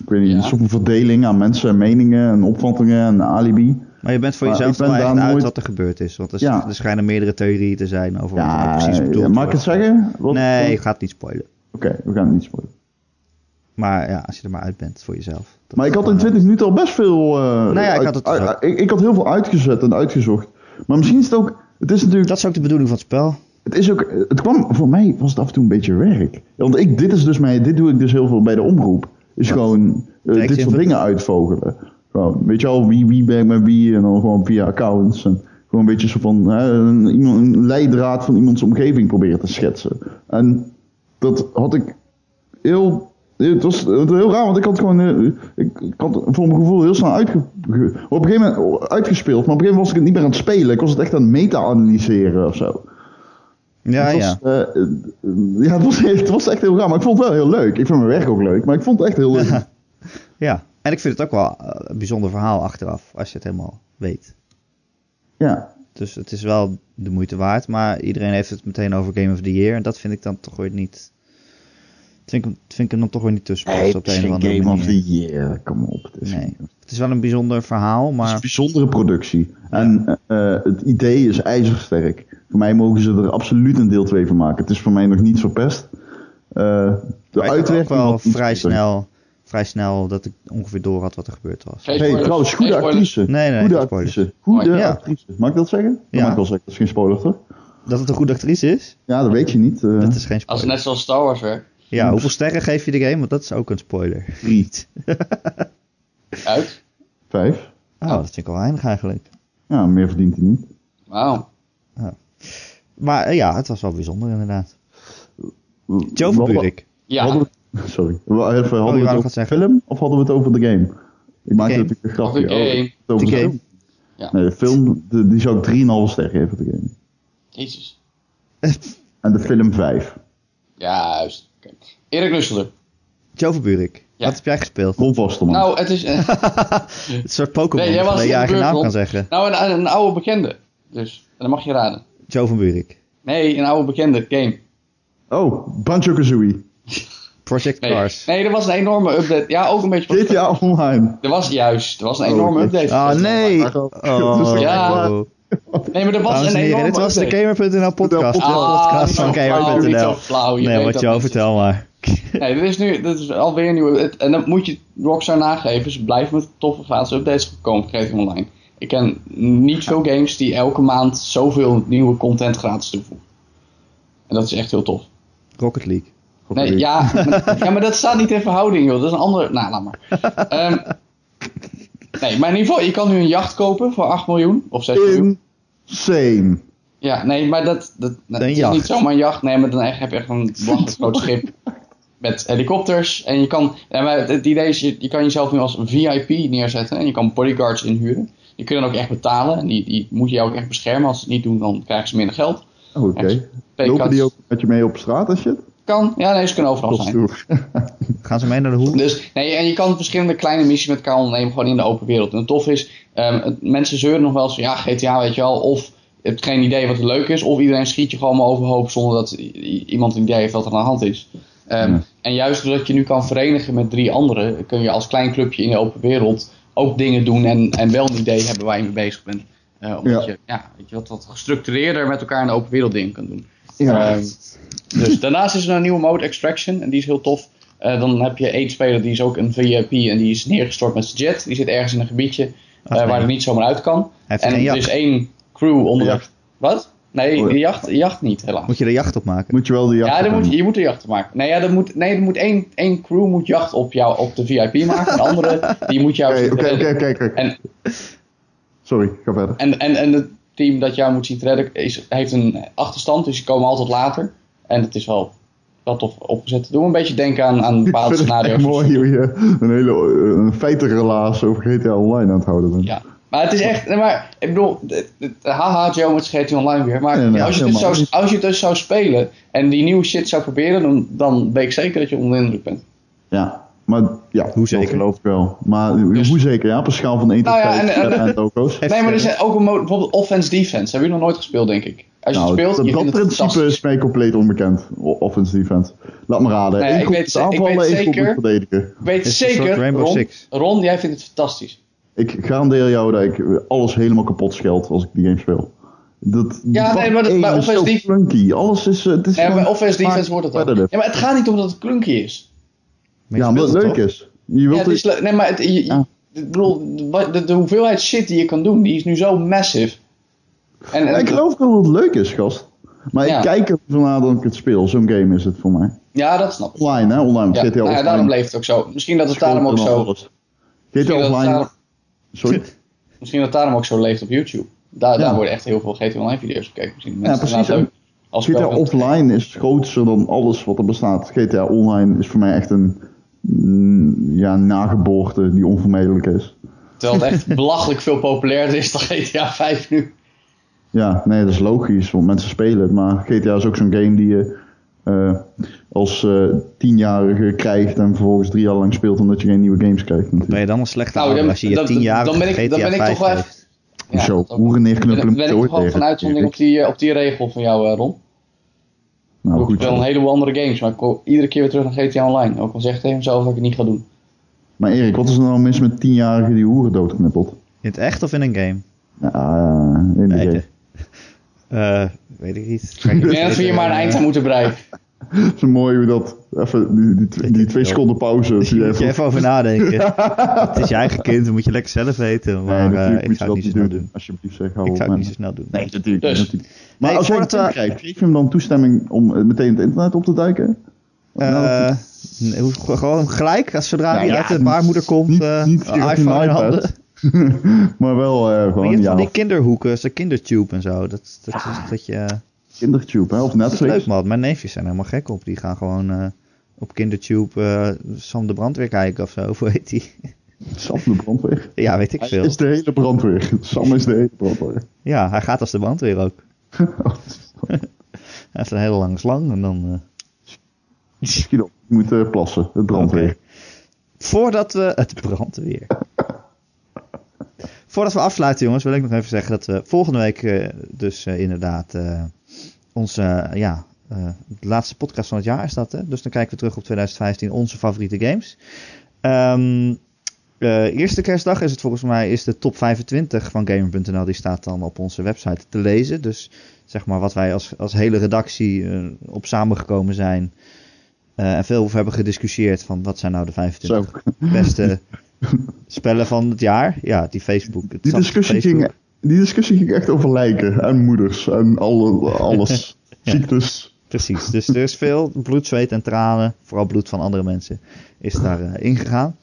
B: ik weet niet,
C: Ja.
B: een soort van verdeling aan mensen en meningen en opvattingen en alibi.
A: Maar je bent voor
B: Maar
A: jezelf
B: ik ben
A: wel echt
B: daar
A: uit
B: nooit-
A: wat er gebeurd is. Want er,
B: Ja.
A: er schijnen meerdere theorieën te zijn over wat er
B: Ja,
A: nou precies bedoeld
B: ja, mag ik het
A: wordt.
B: zeggen? Wat-
A: Nee, ik ga het niet spoilen.
B: Oké, we gaan het niet spoilen.
A: Maar ja, als je er maar uit bent voor jezelf. Dat
B: Maar ik
A: is
B: had
A: dan,
B: in
A: eh,
B: 20 minuten al best veel... eh,
A: Nou ja, ik
B: uit-
A: had het
B: uit-
A: ook.
B: uit- ik, ik had heel veel uitgezet en uitgezocht. Maar misschien is het ook... Het is natuurlijk...
A: Dat is ook de bedoeling van het spel.
B: Het, is ook, het kwam... Voor mij was het af en toe een beetje werk. Want ik, dit is dus mijn... Dit doe ik dus heel veel bij de omroep. Is gewoon eh,
A: Direct
B: dit soort
A: invullen.
B: dingen uitvogelen. Gewoon, weet je al, wie, wie ben ik met wie? En dan gewoon via accounts. En gewoon een beetje zo van... hè, een, iemand- een leidraad van iemands omgeving proberen te schetsen. En dat had ik heel. Het was, het was heel raar, want ik had gewoon. eh, Ik, ik had voor mijn gevoel heel snel uitge, ge- op een gegeven moment uitgespeeld, maar op een gegeven moment was ik het niet meer aan het spelen. Ik was het echt aan het meta-analyseren of zo.
A: Ja,
B: het
A: ja.
B: was, eh, eh, ja het, was, echt- het was echt heel raar, maar ik vond het wel heel leuk. Ik vond mijn werk ook leuk, maar ik vond het echt heel leuk.
A: Ja, en ik vind het ook wel eh, een bijzonder verhaal achteraf, als je het helemaal weet.
B: ja.
A: Dus het is wel de moeite waard, maar iedereen heeft het meteen over Game of the Year. En dat vind ik dan toch weer niet... Vind ik, hem- vind ik hem dan toch weer niet tussen passen op de een of andere
B: Game
A: manier.
B: of the Year, kom op. Het is,
A: Nee. Het is wel een bijzonder verhaal,
B: een
A: maar...
B: bijzondere productie. En eh, eh, het idee is ijzersterk. Voor mij mogen ze er absoluut een deel 2 van maken. Het is voor mij nog niet verpest. Eh, de
A: maar ik had ook
B: uitwerking
A: wel
B: had iets
A: vrij
B: beter.
A: snel, vrij snel dat ik ongeveer door had wat er gebeurd was.
B: Hey, trouwens, goede actrice.
A: Nee, nee,
B: goede
A: geen spoilers.
B: actrice. Goede
A: Ja.
B: actrice. Mag ik dat zeggen? Dat
A: Ja.
B: mag ik wel zeggen. Dat is geen spoiler, toch?
A: Dat het een goede actrice is,
B: Ja, dat weet je niet. eh,
A: dat is geen
C: Als
A: spoiler.
C: net zoals Star Wars werkt.
A: Ja, hoeveel sterren geef je de game? Want dat is ook een spoiler.
B: Drie,
C: Uit.
B: vijf.
A: Oh, dat vind ik wel weinig eigenlijk.
B: Ja, meer verdient hij niet.
C: Wauw.
A: Maar eh, ja, het was wel bijzonder inderdaad. Joe
B: Wat-
A: van Buurik.
C: Ja,
B: Hadden we- sorry. We- Hadden we
A: wou
B: het
A: nog
B: over
A: wat
B: de
A: zeggen.
B: film of hadden we het over de game? Ik maak
A: game.
B: natuurlijk een grapje.
C: Over de
B: Oh,
C: game.
B: het over
A: De
B: de
A: game.
B: film.
C: Ja.
B: Nee, de film de- die zou ik 3,5 ster geven, de game.
C: jezus.
B: En de film 5.
C: Ja, juist. Oké. Erik Nusselder.
A: Joe van Buurik,
C: Ja.
A: wat heb jij gespeeld?
B: Ron Vasterman.
C: Nou, het is... eh,
A: Het soort Pokémon
C: Nee, jij was
A: waar
C: in
A: je
C: de
A: eigen
C: beurt,
A: naam
C: Rob.
A: kan zeggen.
C: nou, een, een oude bekende. Dus, en dan mag je raden.
A: Joe van Buurik.
C: Nee, een oude bekende game.
B: Oh, Banjo-Kazooie.
A: Project
C: Nee.
A: Cars.
C: nee, er was een enorme update. Ja, ook een beetje... van-
B: GTA Online.
C: Er was juist, er was een enorme
B: Oh,
C: update.
A: Oh nee!
B: maar-
A: Oh,
C: Ja. Nee, maar er was
A: Dames en
C: een
A: heren,
C: enorme
A: dit was de
C: update. Ah, nou,
A: Gamer.nl podcast. De podcast van Gamer.nl. Nee, wat jou vertel maar.
C: Nee, dit is nu, dit is alweer een nieuwe. het- en dat moet je Rockstar nageven. Ze blijven met toffe gratis updates komen geven online. Ik ken niet veel games die elke maand zoveel nieuwe content gratis toevoegen. En dat is echt heel tof.
A: Rocket League.
C: Nee, ja, maar, ja, maar dat staat niet in verhouding, joh. Dat is een andere. Nou, laat maar. Ehm, nee, maar in ieder geval, je kan nu een jacht kopen voor 8 miljoen of 6 miljoen.
B: Insane.
C: Ja, nee, maar dat, dat, dat
A: Een
C: is
A: jacht.
C: niet zomaar een jacht. Nee, maar dan heb je echt een belachelijk groot schip met helikopters. En je kan, en maar het idee is, je, je kan jezelf nu als VIP neerzetten en je kan bodyguards inhuren. Die kunnen ook echt betalen en die, die moet je ook echt beschermen. Als ze het niet doen, dan krijgen ze minder geld.
B: Oh, Oké.
C: Echt.
B: Lopen
C: Paycuts
B: die ook met je mee op straat en shit?
C: Kan, ja, nee, ze kunnen overal
B: Dat is
C: zijn.
B: stoer.
A: Gaan ze mee naar de
B: Mhm.
A: hoek?
C: Dus, nee, en je kan verschillende kleine missies met elkaar ondernemen, gewoon in de open wereld. En het tof is, ehm, het- mensen zeuren nog wel eens van, ja, GTA, weet je wel, of je hebt geen idee wat er leuk is, of iedereen schiet je gewoon maar overhoop zonder dat i- i- iemand een idee heeft wat er aan de hand is. Ehm,
B: Ja.
C: En juist doordat je nu kan verenigen met drie anderen, kun je als klein clubje in de open wereld ook dingen doen en, en wel een idee hebben waar je mee bezig bent. Eh, omdat
B: Ja.
C: je ja, weet je, wat, wat gestructureerder met elkaar in de open wereld dingen kan doen.
B: Ja.
C: Ehm, dus daarnaast is er een nieuwe mode, Extraction, en die is heel tof. Eh, dan heb je één speler die is ook een VIP en die is neergestort met zijn jet. Die zit ergens in een gebiedje eh,
A: nee.
C: waar hij niet zomaar uit kan.
A: heeft
C: en
A: geen
C: er
A: jacht.
C: is één crew onder.
B: Jacht.
C: Wat? Nee,
B: Oh ja.
C: de jacht, de jacht niet, helaas.
A: Moet je er jacht op maken?
B: Moet je wel de jacht
C: Ja, dan
B: op
C: moet,
B: hebben.
C: je moet er jacht op maken. Nee, ja, dan moet, nee er moet één, één crew moet jacht op, jou, op de VIP maken. De andere, die moet jou...
B: Oké,
C: zien
B: oké,
C: redden.
B: oké, oké, oké.
C: En-
B: Sorry, ga verder.
C: En, en, en het team dat jou moet zien te redden is, heeft een achterstand, dus ze komen altijd later. En het is wel, wel tof opgezet. Doe een beetje denken aan, aan
B: Ik
C: bepaalde
B: vind het echt
C: scenario's.
B: mooi hoe je een hele eh, een feitenrelaas over GTA Online aan het houden bent.
C: Ja. Maar het is echt, nee, maar ik bedoel, het- het- haha Joe met GTA Online weer. Maar
B: Nee, nee,
C: als, je het
B: helemaal
C: dus zou,
B: niet.
C: als je het dus zou spelen en die nieuwe shit zou proberen, dan, dan weet ik zeker dat je onder de indruk bent.
B: Ja, maar ja,
A: Hoe zeker?
B: dat geloof ik wel. Maar hoe zeker, ja, op een schaal van 1 tot
C: Dus- Nou ja,
B: 5
C: en- en-
B: en toko's.
A: Heeft,
C: Nee, maar er
A: eh,
C: zijn ook een mode, bijvoorbeeld offense-defense. Hebben jullie nog nooit gespeeld, denk ik. Als je
B: Nou,
C: het speelt,
B: dat
C: je
B: dat
C: vindt het
B: principe
C: fantastisch.
B: is mij compleet onbekend. O- Offense, defense. Laat me raden.
C: Nee,
B: Eén
C: ik
B: groep
C: weet
B: is
C: ze- ik
B: aanvallen,
C: weet
B: één groep
C: zeker-
B: moet verdedigen.
C: Ik weet
A: is een soort
C: zeker,
A: Rainbow
C: Ron,
A: Six.
C: Ron, jij vindt het fantastisch.
B: Ik garandeer jou dat ik alles helemaal kapot scheld als ik die game speel. Dat,
C: Ja, nee, maar dat- bij
B: bij
C: offense,
B: offense
C: def-
B: flunky. Alles is... eh, Het is
C: Ja,
B: gewoon
C: bij offense defense wordt het ook.
B: competitive.
C: Ja, maar het gaat niet om dat het klunky is.
A: maar je
B: Ja, omdat
A: speelt
B: het
A: het
B: leuk
A: toch?
B: is. Je
C: Ja,
B: wilt
C: het is le- nee, maar het, je- je-
B: Ja.
C: ik bedoel, de, wat- de, de hoeveelheid shit die je kan doen, die is nu zo massive. En,
B: Ja,
C: en-
B: ik geloof wel dat het leuk is, gast. Maar
C: Ja.
B: ik kijk er vanavond dat ik het speel. Zo'n game is het voor mij.
C: ja, dat snap ik.
B: Online, hè? Online. GTA
C: Ja, nou ja,
B: Online.
C: daarom bleef het ook zo. Misschien dat het daarom ook zo...
B: Alles. GTA
C: Misschien dat, het
B: Online.
C: daarom,
B: Sorry.
C: misschien dat het daarom ook zo leeft op YouTube. Daar,
B: Ja.
C: daar worden echt heel veel GTA Online video's bekeken. Misschien mensen
B: precies,
C: inderdaad
B: hè.
C: leuk Als
B: GTA
C: spel-
B: Offline is groter dan alles wat er bestaat. GTA Online is voor mij echt een mm, ja, nageboorte die onvermijdelijk is.
C: Terwijl het echt belachelijk veel populairder is dan GTA 5 nu.
B: Ja, nee, dat is logisch, want mensen spelen het. Maar GTA is ook zo'n game die je eh, als eh, tienjarige krijgt en vervolgens drie jaar lang speelt omdat je geen nieuwe games krijgt.
A: Ben
B: Natuurlijk.
A: je dan wel slechter
C: Nou,
A: ouder
C: dan-
A: als je je
C: dan-
A: tien jaar
C: dan ben ik- dan
A: GTA
C: ben ik
A: 5
C: toch wel even-
A: heeft?
B: Zo,
C: dat ook.
B: hoeren neerknuppelen
C: ben, ben ik
B: met
C: toch
B: zooi
C: gewoon van
B: tegen.
C: uitzondering op die, eh, op die regel van jou, eh, Ron.
B: Nou
C: ik
B: goed,
C: speel een heleboel andere games, maar ik kom iedere keer weer terug naar GTA Online. Ook al zegt hij mezelf dat ik het niet ga doen.
B: maar Erik, wat is er nou mis met tienjarigen die hoeren doodknuppelt?
A: In het echt of in een game?
B: Ja, eh, in de
A: Nee,
B: game.
A: de- Eh, weet ik niet. Ga ik
C: Ik
A: niet
C: denk dat we hier
A: weten.
C: maar een eind aan moeten bereiken.
B: Het is mooi hoe dat, even die, die, die,
A: eh,
B: die twee seconden pauze. dat je
A: Moet Dus je
B: even-
A: even over nadenken. het is je eigen kind, dat moet je lekker zelf weten. Maar eh,
B: natuurlijk
A: ik zou het niet zo snel doen.
B: Alsjeblieft zeg, hou
A: Ik
B: op
A: zou het
B: met
A: niet zo
B: me.
A: snel doen.
B: Nee, natuurlijk
C: Dus.
B: niet. natuurlijk. Maar
A: Nee,
B: als jij een
A: voordat
B: kind
A: we-
B: krijgt, geef je hem dan toestemming om eh, meteen het internet op te duiken?
A: Eh,
B: Nou,
A: nee, hoe- gewoon gelijk, als zodra
B: Ja,
A: die
B: ja,
A: uit de
B: niet-
A: baarmoeder komt,
B: niet-
A: eh,
B: niet
A: een
B: direct
A: iPhone
B: een
A: in
B: iPad.
A: handen.
B: maar wel eh,
A: Maar je
B: gewoon
A: hebt van
B: ja, Ah.
A: die kinderhoeken, zo'n kindertube en zo. Dat, dat, is, dat, je, eh,
B: kindertube hè, of
A: dat is leuk
B: Netflix.
A: man, mijn neefjes zijn helemaal gek op. Die gaan gewoon eh, op kindertube eh, Sam de Brandweer kijken of zo, hoe heet die?
B: Sam de brandweer.
A: ja, weet ik
B: Hij
A: veel.
B: is de hele brandweer. Sam is de hele brandweer.
A: Ja, hij gaat als de brandweer ook.
B: Oh.
A: Hij heeft een hele lange slang en dan... eh,
B: Misschien ook. Ik moet eh, plassen, het brandweer.
A: Oké. Voordat we het brandweer. Voordat we afsluiten, jongens, wil ik nog even zeggen dat we volgende week eh, dus eh, inderdaad eh, onze eh, ja, eh, de laatste podcast van het jaar is dat. Hè? Dus dan kijken we terug op 2015 onze favoriete games. Ehm, eh, eerste kerstdag is het volgens mij is de top 25 van gamer.nl. Die staat dan op onze website te lezen. Dus zeg maar wat wij als, als hele redactie eh, op samengekomen zijn. eh, en veel over hebben gediscussieerd van wat zijn nou de 25
B: Zo.
A: beste spellen van het jaar. Ja, die Facebook. het
B: Die
A: zat op
B: discussie,
A: Facebook.
B: ging, die discussie ging echt over lijken en moeders en alle, alles.
A: Ja.
B: Ziektes.
A: Precies, dus er is veel bloed, zweet en tranen, vooral bloed van andere mensen, is daar eh, ingegaan.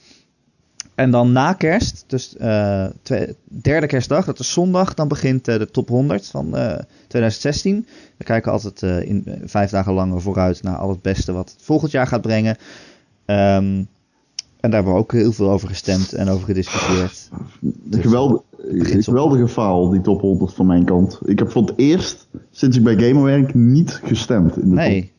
A: En dan na kerst, dus eh, twe- derde kerstdag, dat is zondag, dan begint eh, de top 100 van eh, 2016. We kijken altijd eh, in, eh, vijf dagen langer vooruit naar al het beste wat het volgend jaar gaat brengen. Ehm, en daar hebben we ook heel veel over gestemd en over gediscussieerd.
B: Ah, De geweld-
A: begint zo.
B: geweldige faal, die top 100 van mijn kant. Ik heb voor het eerst, sinds ik bij Gamer werk, niet gestemd. In de top.
A: Nee,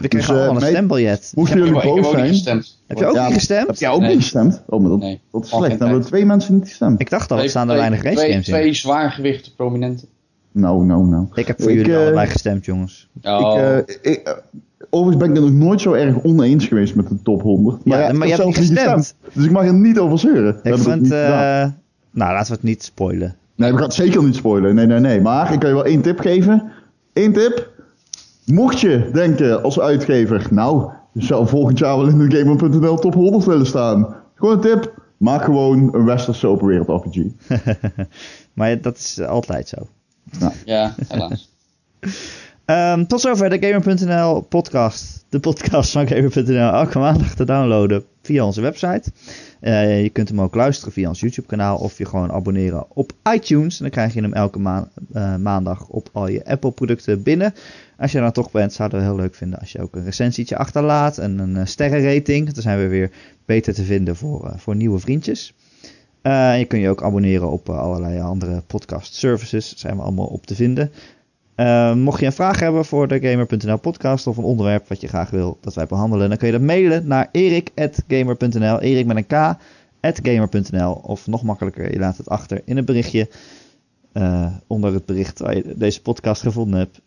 A: we kregen
B: eh,
A: allemaal een
B: mij-
A: stembiljet.
B: Moesten
C: Ik
B: jullie
C: heb, ik heb
B: boos
C: ook niet
B: zijn?
C: gestemd.
A: Heb je ook
B: Ja,
A: niet
B: Heb
A: gestemd?
B: jij ook
C: Nee.
B: niet gestemd? Oh, maar dat,
C: Nee.
B: dat is
C: Al geen
B: slecht. Dan hebben
C: tijd.
B: twee mensen niet gestemd.
A: Ik dacht al,
C: Twee-
A: er staan er
C: twee-
A: weinig race
C: twee-
A: games in.
C: Twee zwaargewichte prominenten.
B: Nou, nou, nou.
A: Ik heb voor
B: Ik,
A: jullie
B: eh,
A: allebei gestemd, jongens.
C: Oh.
B: Ik, eh, ik, eh, Overigens ben ik het nog nooit zo erg oneens geweest met de top 100.
A: Ja, maar
B: ik heb
A: je hebt
B: zelf
A: niet gestemd.
B: Dus ik mag er niet over zeuren. We
A: Ik
B: hebben het
A: vind...
B: niet gedaan.
A: eh, nou, laten we het niet spoilen.
B: Nee, we gaan het zeker niet spoilen. Nee, nee, nee. Maar ik kan je wel één tip geven. Eén tip. Mocht je denken als uitgever, nou, je zou volgend jaar wel in de Gamer.nl top 100 willen staan. Gewoon een tip. Maak gewoon een westerse open wereld RPG.
A: maar dat is altijd zo.
C: Ja, helaas.
A: Ehm, tot zover de Gamer.nl podcast. De podcast van Gamer.nl elke maandag te downloaden via onze website. Eh, je kunt hem ook luisteren via ons YouTube kanaal of je gewoon abonneren op iTunes. En dan krijg je hem elke ma- eh, maandag op al je Apple producten binnen. Als je er nou toch bent, zouden we heel leuk vinden als je ook een recensietje achterlaat en een eh, sterrenrating. Dan zijn we weer beter te vinden voor, eh, voor nieuwe vriendjes. Eh, en je kunt je ook abonneren op eh, allerlei andere podcast services. Daar zijn we allemaal op te vinden. Eh, mocht je een vraag hebben voor de Gamer.nl podcast of een onderwerp wat je graag wil dat wij behandelen, dan kun je dat mailen naar erik.gamer.nl, erik met een k, at gamer.nl of nog makkelijker, je laat het achter in een berichtje eh, onder het bericht waar je deze podcast gevonden hebt.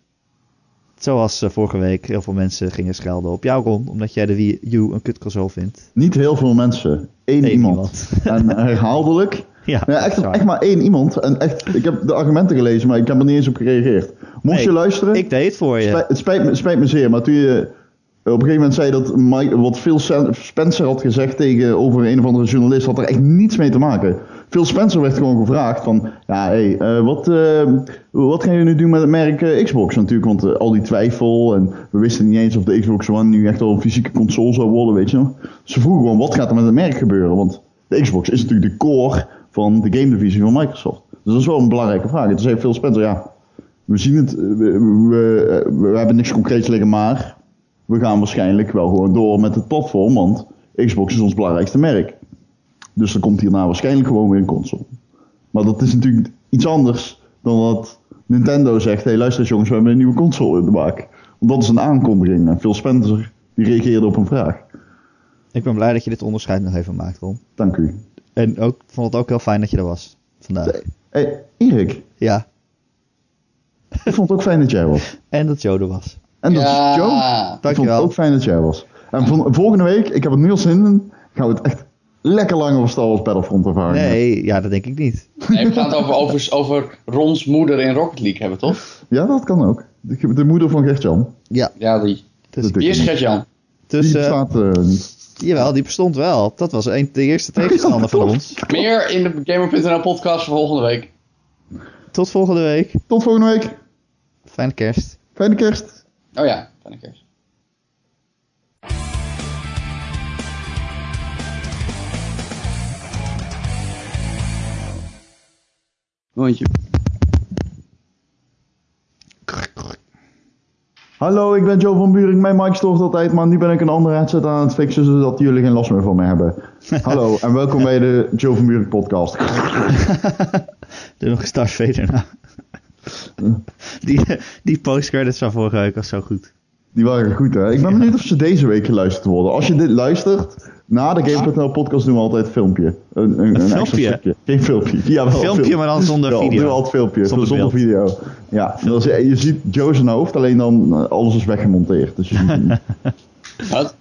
A: Zoals eh, vorige week, heel veel mensen gingen schelden op jou, Ron, omdat jij de Wii U een kutconsole vindt.
B: Niet heel veel mensen. Eén
A: Nee,
B: iemand.
A: niemand.
B: En herhaaldelijk.
A: Ja,
B: Ja,
A: dat
B: echt,
A: is waar.
B: echt maar één iemand. En echt, ik heb de argumenten gelezen, maar ik heb er niet eens op gereageerd. Mocht
A: Nee,
B: je luisteren,
A: ik deed het voor je.
B: spijt- het spijt me, het spijt me zeer, maar toen je op een gegeven moment zei dat Mike, wat Phil Sen- Spencer had gezegd tegen over een of andere journalist, had er echt niets mee te maken. Phil Spencer werd gewoon gevraagd van, ja, hey, eh, wat, eh, wat gaan jullie nu doen met het merk eh, Xbox natuurlijk? Want eh, al die twijfel en we wisten niet eens of de Xbox One nu echt al een fysieke console zou worden, weet je nog? Ze vroegen gewoon, wat gaat er met het merk gebeuren? Want de Xbox is natuurlijk de core van de game divisie van Microsoft. Dus dat is wel een belangrijke vraag. En toen zei Phil Spencer, ja, we zien het, eh, we, we, eh, we hebben niks concreets liggen, maar we gaan waarschijnlijk wel gewoon door met het platform, want Xbox is ons belangrijkste merk. Dus er komt hierna waarschijnlijk gewoon weer een console. Maar dat is natuurlijk iets anders dan dat Nintendo zegt, hé hey, luister eens jongens, we hebben een nieuwe console in de maak. Want dat is een aankondiging en Phil Spencer die reageerde op een vraag.
A: Ik ben blij dat je dit onderscheid nog even maakt, Ron.
B: Dank u.
A: En ook, ik vond het ook heel fijn dat je er was vandaag.
B: Hé, Eh, Erik,
A: Ja,
B: ik vond het ook fijn dat jij was.
A: en dat Joden was.
B: En dat is Joe. Ik vond het
A: Dankjewel.
B: ook fijn dat jij was. En van, volgende week, ik heb het nu al zin in, gaan we het echt lekker lang over Star Wars Battlefront ervaren.
A: Nee, ja, dat denk ik niet.
D: Nee, we gaan het over, over, over Rons moeder in Rocket League hebben, toch?
B: Ja, dat kan ook. De, de moeder van Gert-Jan.
D: Ja, die.
A: Dus,
B: Dat
D: Wie is Gert-Jan?
B: Die
A: dus eh,
B: staat eh, niet.
A: jawel, die bestond wel. Dat was een, de eerste tegenstander van ons.
D: Meer in de Gamer.nl podcast voor volgende week.
A: Tot volgende week.
B: Tot volgende week.
A: Fijne kerst.
B: Fijne kerst.
D: Oh ja, fijne kerst.
C: Rondje.
B: Hallo, ik ben Joe van Buring. Mijn mic stort altijd, maar nu ben ik een andere headset aan het fixen, zodat jullie geen last meer van me hebben. Hallo en welkom bij de Joe van Buring podcast.
A: Doe nog een Star Vader na. Die, die postcredits van vorige week was zo goed.
B: Die waren goed, hè? Ik ben benieuwd of ze deze week geluisterd worden. Als je dit luistert, na de Game.nl podcast doen we altijd een filmpje. Een, een, een, extra
A: filmpje?
B: stukje. Geen filmpje. Ja, wel,
A: Filmpje, maar dan zonder
B: Ja,
A: video.
B: doen we altijd filmpje.
A: Zonder
B: Zonder, video. Ja, dat is- je ziet Joe zijn hoofd, alleen dan eh, alles is weggemonteerd. Dus je ziet hem niet.
D: Wat?